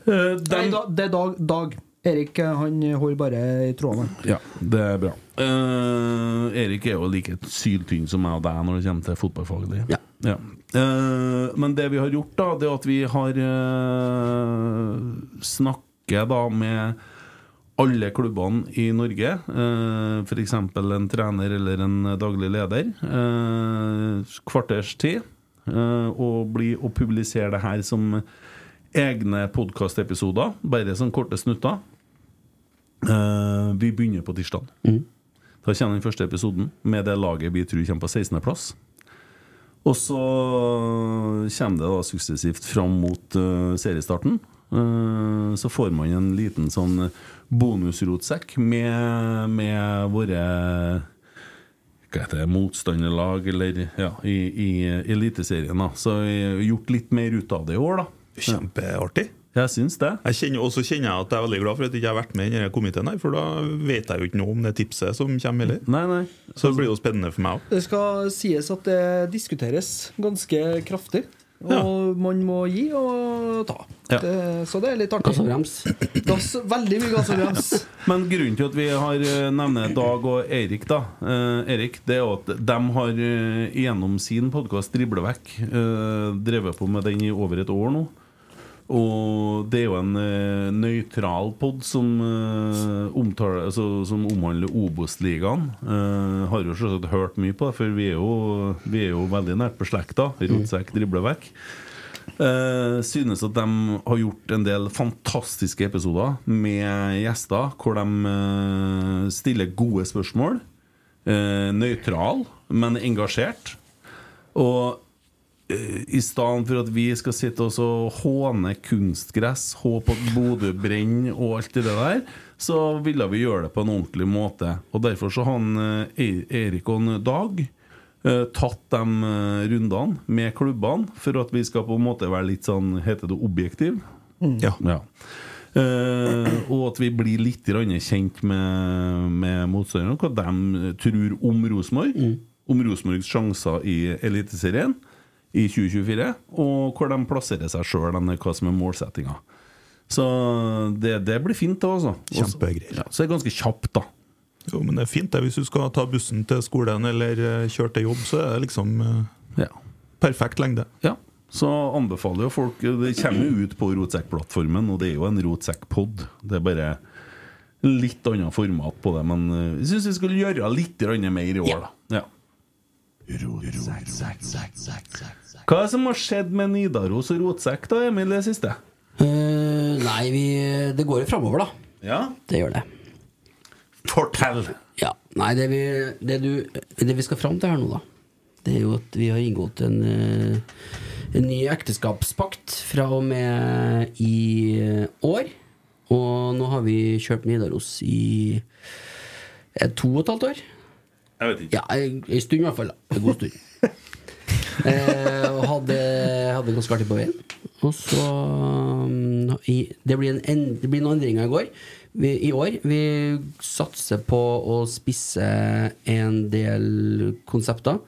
S1: Eh,
S4: Nei, da, det er Dag. Dag. Erik eh, han holder bare i trådene.
S1: Ja, det er bra. Eh, Erik er jo like syltynn som meg og deg når det kommer til fotballfaglig. Ja. Eh, men det vi har gjort, da, det er at vi har uh, snakket da med alle klubbene i Norge. Uh, F.eks. en trener eller en daglig leder. eh, kvarters tid. eh, og bli og publisere det her som egne podkastepisoder, bare som korte snutter. Eh, vi begynner på tirsdag. Da kommer den første episoden med det laget vi tror kommer på 16.-plass. Og så kommer det da suksessivt fram mot eh, seriestarten. Eh, så får man en liten sånn bonusrotsekk med, med våre hva heter det, motstanderlag eller ja, i, i Eliteserien. da Så vi har gjort litt mer ut av det i år, da. Kjempeartig. Jeg syns det.
S3: Jeg kjenner, også kjenner jeg at jeg er veldig glad for at jeg ikke har vært med i denne komiteen, her, for da vet jeg jo ikke noe om det tipset som kommer heller. Så det blir jo spennende for meg òg.
S4: Det skal sies at det diskuteres ganske kraftig. Og man må gi og ta.
S1: Ja.
S4: Det, så det er litt artig. Gass og
S2: brems.
S4: Veldig mye gass og brems.
S1: Men grunnen til at vi har eh, nevner Dag og Erik, da eh, Erik, det er jo at de har eh, gjennom sin podkast Driblevekk eh, drevet på med den i over et år nå. Og det er jo en eh, nøytral pod som, eh, omtaler, altså, som omhandler Obos-ligaen. Eh, har jo selvsagt hørt mye på det, for vi er jo, vi er jo veldig nært beslekta. Rotsekk dribler vekk. Eh, synes at de har gjort en del fantastiske episoder med gjester, hvor de eh, stiller gode spørsmål. Eh, nøytral, men engasjert. Og eh, i stedet for at vi skal sitte og så håne kunstgress, håpe at Bodø brenner og alt det der, så ville vi gjøre det på en ordentlig måte. Og derfor så har han, eh, E- Erik og han Dag eh, tatt de eh, rundene med klubbene, for at vi skal på en måte være litt sånn, heter det objektiv?
S3: Mm. Ja.
S1: Eh, og at vi blir litt grann kjent med, med motstanderne, hva de tror om Rosenborg. Om Rosenborgs sjanser i Eliteserien i 2024, og hvor de plasserer seg sjøl, hva som er målsettinga. Så det, det blir fint, det, altså. Kjempegreier. Ja, så det er ganske kjapt, da.
S3: Jo, men det er fint det. Hvis du skal ta bussen til skolen eller eh, kjøre til jobb, så er det liksom eh, perfekt lengde.
S1: Ja. Så anbefaler jo folk Det kommer jo ut på Rotsekk-plattformen, og det er jo en Rotsekk-pod. Det er bare litt annet format på det, men eh, jeg syns vi skal gjøre litt grann mer i år, da. Ja. Hva er det som har skjedd med Nidaros og Rotsekk, da, Emil, det siste?
S2: Eh, nei, vi, det går jo framover, da.
S1: Ja?
S2: Det gjør det.
S1: Fortell!
S2: Ja. Nei, det vi, det, du, det vi skal fram til her nå, da, det er jo at vi har inngått en, eh, en ny ekteskapspakt fra og med i eh, år. Og nå har vi kjørt Nidaros i eh, to og et halvt år.
S1: Jeg vet ikke.
S2: Ja, en en stund i hvert fall. da. En god stund. eh, og hadde, hadde ganske artig på veien. Og så um, i, det, blir en en, det blir noen endringer i, går. Vi, i år. Vi satser på å spisse en del konsepter.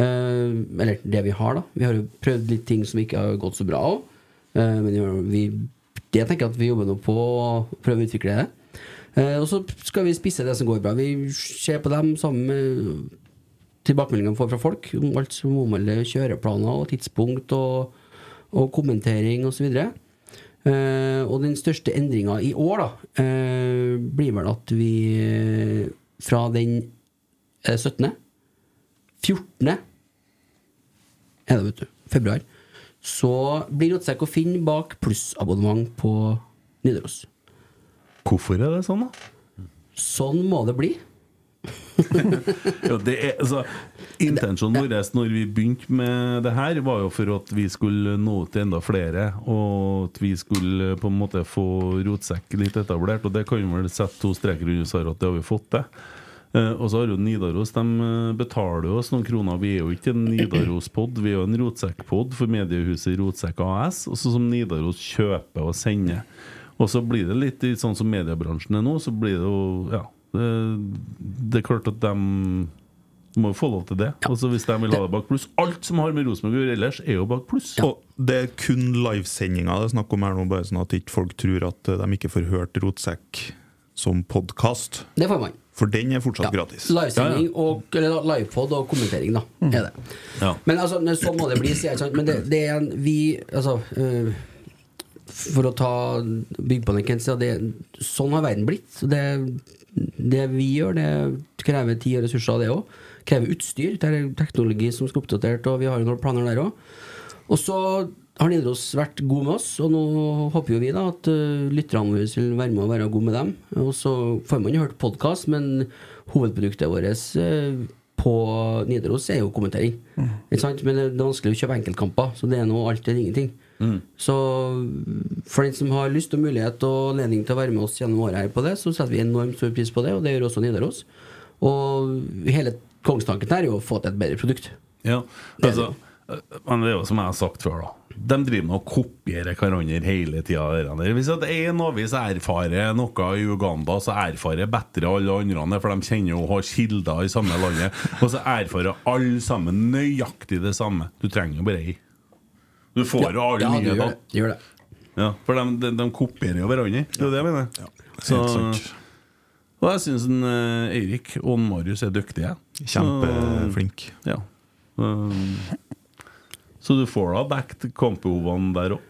S2: Eh, eller det vi har, da. Vi har jo prøvd litt ting som ikke har gått så bra òg. Eh, men vi, vi, det tenker jeg at vi jobber nå på å prøve å utvikle det. Eh, og så skal vi spisse det som går bra. Vi ser på dem sammen med tilbakemeldingene vi får fra folk. om Alt som omhandler kjøreplaner og tidspunkt og, og kommentering osv. Eh, og den største endringa i år da, eh, blir vel at vi eh, fra den eh, 17. 14. er det, vet du, februar, så blir Rotsekk å finne bak plussabonnement på Nidaros.
S1: Hvorfor er det sånn, da?
S2: Sånn må det bli.
S1: ja, det er, altså, intensjonen vår når vi begynte med det her, var jo for at vi skulle nå ut til enda flere, og at vi skulle på en måte få rotsekk litt etablert. Og det kan vi vel sette to streker under svaret at det har vi fått til. Eh, og så har jo Nidaros De eh, betaler jo oss noen kroner. Vi er jo ikke en Nidaros-pod, vi er jo en Rotsekk-pod for mediehuset Rotsekk AS, og så som Nidaros kjøper og sender. Og så blir det litt i sånn som mediebransjen er nå, så blir det jo Ja. Det, det er klart at de må jo få lov til det. Og så hvis de vil ha det bak pluss Alt som har med Rosenborg å gjøre ellers, er jo bak pluss.
S3: Og det er kun livesendinger det er snakk om her nå, bare sånn at ikke folk tror at eh, de ikke får hørt Rotsekk som podkast.
S2: Det får man.
S3: For den er fortsatt gratis.
S2: Livesending og eller livepod og kommentering, da. Er det.
S3: Ja.
S2: Men altså, men sånn må det bli, sier jeg. ikke sant? Men det, det er en Vi, altså øh, For å ta bygge på den, Kent, så det, sånn har verden blitt. Så Det, det vi gjør, det krever tid og ressurser, det òg. Krever utstyr. Det er teknologi som skal oppdatert, og vi har jo noen planer der òg. Og så har Nidaros vært god med oss, og nå håper jo vi da at øh, lytterne våre vil være med og være god med dem. Og så får man jo hørt podkast, men hovedproduktet vårt øh, på Nidaros er jo kommentering.
S1: Mm.
S2: Ikke sant? Men det det er vanskelig å kjøpe enkeltkamper, så det er nå alt eller ingenting.
S1: Mm.
S2: Så for den som har lyst og mulighet og anledning til å være med oss gjennom året her på det, så setter vi enormt stor pris på det, og det gjør også Nidaros. Og hele kongstanken her er jo å få til et bedre produkt.
S1: Ja, altså, eh, men det er jo som jeg har sagt før, da. De driver med å kopiere hverandre hele tida. Hvis at en avis erfarer noe i Uganda, så erfarer bedre alle andre, for de kjenner jo og har kilder i samme landet. Og så erfarer alle sammen nøyaktig det samme. Du trenger jo bare ei. Du får jo alle
S2: ja, du gjør
S1: nyhetene.
S2: det. Du gjør det.
S1: Ja, for de, de, de kopierer jo hverandre. Det er jo det jeg mener. så,
S3: sant.
S1: og jeg syns Eirik og en Marius er dyktige. Så-
S3: Kjempeflink.
S1: Ja. Um, Så du får da dekket kampbehovene der òg?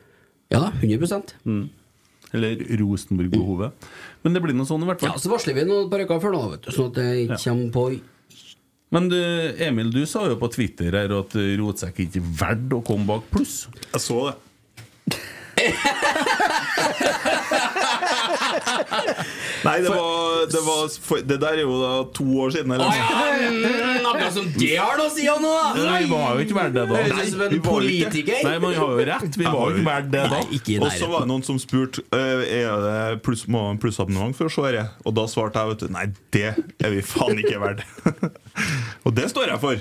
S2: Ja da, 100
S1: mm. Eller Rosenborg-behovet. Men det blir noe sånn i hvert fall.
S2: Ja, så varsler vi noen par uker før nå, vet du, sånn at det ikke kommer på
S1: Men du, Emil, du sa jo på Twitter her at eh, Rotsekk ikke er verdt å komme bak pluss.
S3: Jeg så det. Nei, det var, det var for, Det der er jo da to år siden. Eller?
S2: Mm, Akkurat som det har noe å si om nå, da!
S1: Nei, vi var jo ikke verdt det da.
S2: Høres ut som en
S1: Vi var jo ikke-
S2: politiker.
S1: Nei, man har jo rett. Vi var jo ikke verdt det da.
S3: Og så var det noen som spurte eh, Er det pluss, må man plussabonnement for å se det. Og da svarte jeg vet du, nei, det er vi faen ikke verdt. og det står jeg for.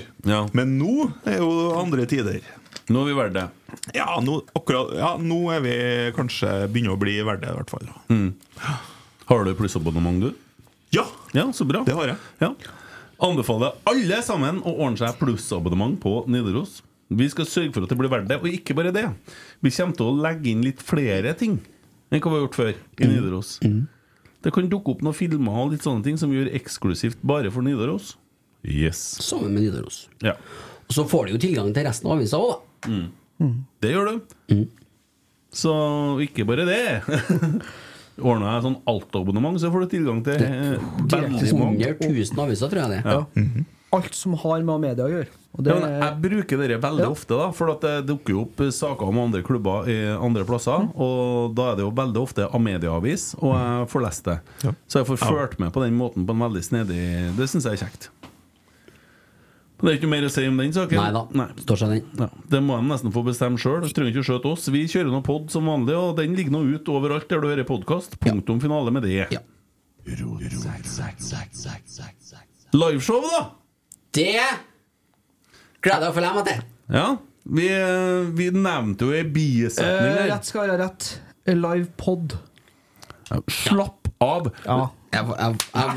S3: Men nå er jo andre tider.
S1: Nå er vi verdt det.
S3: Ja, nå, akkurat, ja, nå er vi kanskje begynner å bli verdt det, i hvert fall.
S1: Mm. Har du plussabonnement, du?
S3: Ja.
S1: Så bra. Det har jeg. Ja. Anbefaler alle sammen å ordne seg plussabonnement på Nidaros. Vi skal sørge for at det blir verdt det, og ikke bare det. Vi kommer til å legge inn litt flere ting enn hva vi har gjort før i Nidaros. Det kan dukke opp noen filmer og litt sånne ting som vi gjør eksklusivt bare for Nidaros. Yes.
S2: Sammen med Nidaros.
S1: Ja.
S2: Og så får du jo tilgang til resten av avisa òg, da.
S1: Mm. Det gjør du. Så ikke bare det. Ordna jeg sånn altabonnement, så får du tilgang til eh, veldig mange.
S2: 100 000 aviser, tror jeg det.
S1: Ja.
S4: Alt som har med media å gjøre. Og det
S1: Ja, men jeg bruker dere veldig ofte, da for at det dukker jo opp saker om andre klubber i andre plasser.
S4: Mm.
S1: Og da er det jo veldig ofte Amedia-avis, og jeg får lest det. Så jeg får ført med på den måten på en veldig snedig Det syns jeg er kjekt. Men Det er ikke noe mer å si om den saken.
S2: Neida, står seg den
S1: ja, Det må de nesten få bestemme sjøl. Trenger ikke å skjøte oss. Vi kjører nå pod som vanlig, og den ligger nå ut overalt der du hører podkast. Punktum finale med det. Liveshow, da!
S2: Det gleder jeg å følge meg til.
S1: Ja, vi, eh, vi nevnte jo ei bisetning
S4: Eh,
S1: der.
S4: rett skal være rett. Live pod.
S1: Slapp av!
S4: Ja.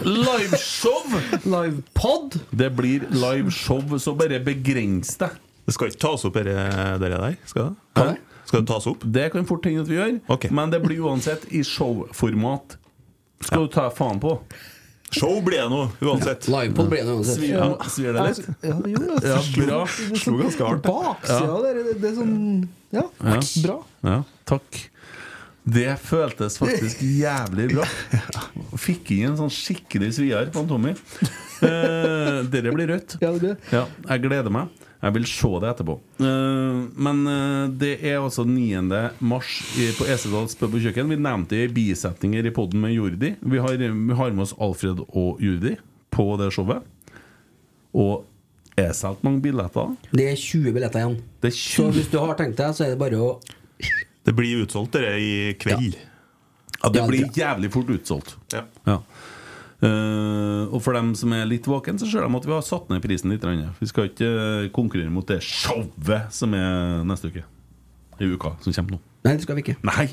S1: Liveshow!
S4: Livepod!
S1: Det blir liveshow, så bare begrens deg.
S3: Det skal ikke tas opp, dere dere der? Skal det? Skal det tas opp?
S1: Det kan fort hende at vi gjør, men det blir uansett i showformat. Skal du ta faen på?
S3: Show blir det nå, uansett.
S2: Ja, livepod blir det nå uansett.
S1: Svir,
S2: Ja.
S1: svir det litt?
S4: Ja, det gjorde det.
S1: Ja,
S4: Slo-
S1: bra.
S4: det
S1: Slo ganske hardt.
S4: Baksida
S1: Ja.
S4: der, det, det er sånn Ja,
S1: Ja.
S4: bra.
S1: Ja, takk. Det føltes faktisk jævlig bra. Fikk inn en sånn skikkelig svier på en Tommy. Eh, dere blir rødt. Ja, jeg gleder meg. Jeg vil se det etterpå. Eh, men eh, det er altså 9. mars i- på Esedals pub og kjøkken. Vi nevnte i bisetninger i poden med Jordi. Vi har, vi har med oss Alfred og Jordi på det showet. Og er det solgt mange billetter.
S2: Det er 20 billetter igjen.
S1: Det er
S2: Så hvis du har tenkt deg, så er det bare å
S3: Det blir utsolgt dere i kveld.
S1: Ja, det blir jævlig fort utsolgt.
S3: Ja.
S1: Eh, og for dem som er litt våken, så ser de at vi har satt ned prisen litt. grann. Vi skal ikke eh, konkurrere mot det showet som er neste uke. I uka som kommer nå.
S2: Nei, det skal vi ikke.
S1: Nei.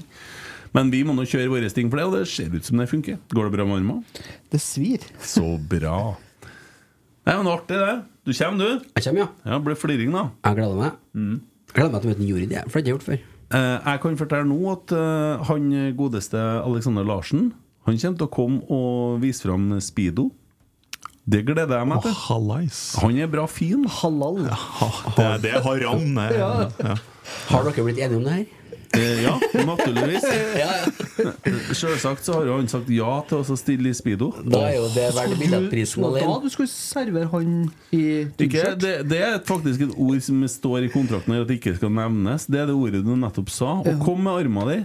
S1: Men vi må nå kjøre våre ting for det, og det ser ut som det funker. Går det bra med armene?
S4: Det svir.
S1: Så bra. Det er jo noe artig, det. Du kommer, du?
S2: Jeg kommer, ja.
S1: ja blir fliring, da.
S2: Jeg gleder meg.
S1: Mm.
S2: Jeg gleder meg til å møte en jury. Det har jeg ikke gjort før.
S1: Eh, jeg kan fortelle nå at eh, han godeste Alexander Larsen Han kommer til å komme og vise fram Speedo. Det gleder jeg meg til. han er bra fin.
S4: Halal.
S3: Det, det er haram. det.
S1: Ja.
S2: Har dere blitt enige om det her?
S1: Eh, ja, naturligvis.
S2: Ja,
S1: Selvsagt så har jo han sagt ja til oss å stille i Speedo.
S2: Da er jo det verdt billettprisen
S4: Så da
S2: alene.
S4: du skulle servere han i
S1: Ikke, det, det er faktisk et ord som står i kontrakten her at det ikke skal nevnes. Det er det ordet du nettopp sa. Og kom med arma di.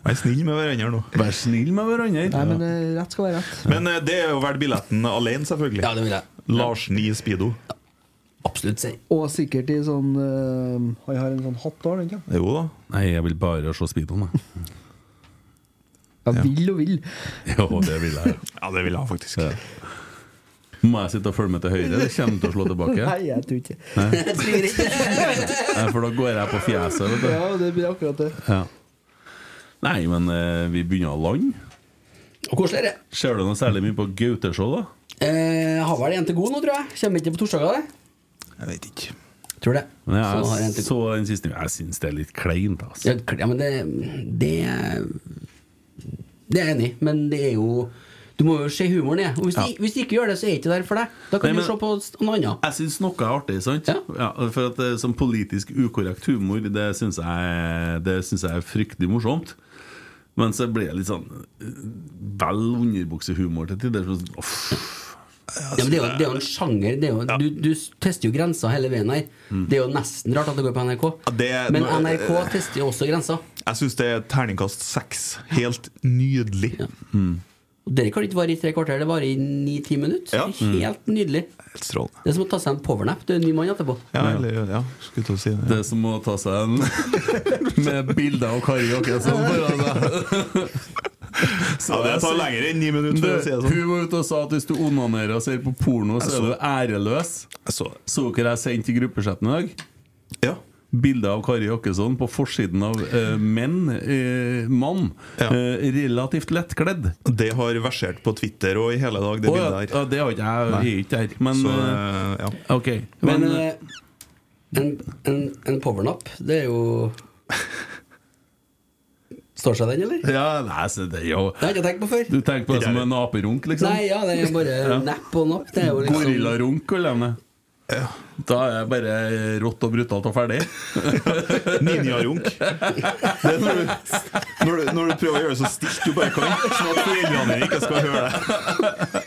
S3: Vær snill med hverandre nå.
S1: Vær snill med hverandre.
S4: Nei, men eh, rett skal være rett.
S3: Men eh, det er jo verdt billetten alene, selvfølgelig.
S2: Ja, det vil jeg.
S3: Larsen i Speedo.
S2: Absolutt. Si.
S4: Og sikkert i sånn eh, Han har en sånn hatt da, har han ikke?
S3: Jo da.
S1: Nei, jeg vil bare se Speedoen, jeg.
S4: Ja, vil og vil.
S1: Jo, det vil jeg.
S3: Ja, det vil jeg faktisk.
S1: Må jeg sitte og følge med til høyre? Det kommer til å slå tilbake.
S4: Nei, jeg tror ikke
S1: Nei.
S4: Jeg tror ikke.
S1: Nei, For da går jeg på fjeset. Vet du.
S4: Ja, det blir akkurat det.
S1: Ja. Nei, men eh, vi begynner å lande.
S2: Og hvordan er det?
S1: Ser du noe særlig mye på Gauteshow, da?
S2: Eh, jeg har vel en til god nå, tror jeg. Kommer ikke på torsdager, det.
S1: Jeg vet ikke.
S2: Tror det.
S1: Men
S2: Så har jeg en
S1: jeg
S2: til-
S1: så den siste Jeg syns det er litt kleint, altså.
S2: Ja, kl- ja, men det, det Det er jeg enig i, men det er jo Du må jo se humoren i det. Og hvis,
S1: Ja.
S2: du, hvis du ikke gjør det, så er ikke det der for deg. Da kan
S1: Nei,
S2: du
S1: men-
S2: se på s- noe annet.
S1: Jeg syns noe er artig, sant? Ja. for at eh, Som politisk ukorrekt humor, det syns jeg, det synes jeg er fryktelig morsomt. Men så blir det litt sånn eh, vel underbuksehumor til tider. Sånn, uff.
S2: Ja, men det, er jo, det er jo en sjanger. Det er jo, du, du tester jo grensa hele veien her. Det er jo nesten rart at det går på NRK. men
S3: nå-
S2: NRK tester jo også grensa.
S3: Jeg syns det er terningkast seks. Helt nydelig.
S2: Og Dere kan ikke vare i tre kvarter, det varer i ni-ti minutter.
S3: Ja.
S2: Helt nydelig.
S3: Strålende.
S2: Det er som å ta seg en powernap. Du er en ny mann etterpå.
S3: Ja, eller, ja, skulle til å si det.
S1: Det er som å ta seg en med bilder av Kari Jakkesson foran deg.
S3: Ja, det tar lenger enn ni minutter, for å si det sånn.
S1: Hun var ute og sa at hvis du onanerer og ser på porno, så
S3: Jeg
S1: er
S3: så-
S1: du æreløs.
S3: Så,
S1: dere jeg sendte i gruppechatten i dag?
S3: Ja
S1: Bilde av Kari Jakkesson på forsiden av eh, Menn. eh, mann. Eh, relativt lettkledd.
S3: Det har versert på Twitter og i hele dag, det
S1: Å, ja.
S3: bildet her.
S1: Ja, det har ikke jeg. jeg er ikke her. Men,
S3: Så,
S1: eh, ok.
S2: Men,
S1: Men,
S2: eh, en, en, en powernap, det er jo Står seg den, eller?
S1: eh, ja, nei, så det er jo Det
S2: har jeg ikke tenkt på før.
S1: Du tenker på det som en aperunk, liksom?
S2: Nei, ja, det er bare napp og napp. Det er jo liksom
S1: Gorillarunk, kaller de det. Da er jeg bare eh, rått og brutalt og ferdig.
S3: Ninjarunk. Det er når, du, når, du, når du prøver å gjøre det så stilt du bare kan, sånn at foreldrene dine ikke skal høre det.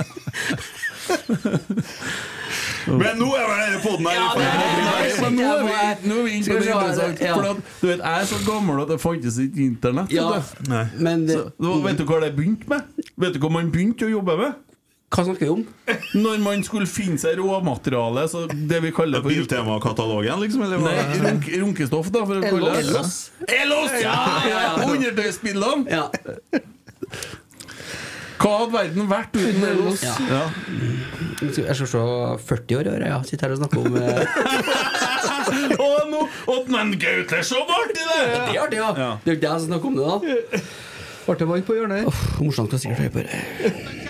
S3: Men nå er vel denne podden her i ferd med å bli ferdig.
S1: Men nå er vi, nå er vi inne på
S3: Skal vi
S1: det
S3: se,
S1: interessante.
S3: ja.
S1: For at, du vet, jeg er så gammel at det fantes ikke internett.
S3: Ja,
S1: vet du.
S3: nei.
S2: Men
S1: så, nå, vet du hva det begynte med? Vet du hva man begynte å jobbe med?
S2: Hva snakker vi om?
S1: Når man skulle finne seg råmateriale, så det vi kaller for
S3: Biltemakatalogen, liksom? Eller
S1: Nei, runk, runkestoff, da. For å kalle det.
S3: Ellos.
S1: Ellos! Ja, ja, ja. Undertøysbildene! Hva hadde verden vært uten Ellos?
S2: Ja.
S1: Ja.
S2: Jeg skal se 40 år, ja. Jeg sitter her og snakker om eh,
S1: Og nå åt men Gaute så artig det!
S2: Det er artig, ja. Det er jo ikke jeg som snakker om det, da.
S4: Ble er det varmt på hjørnet?
S2: Uff, morsomt å sikkert høre på det.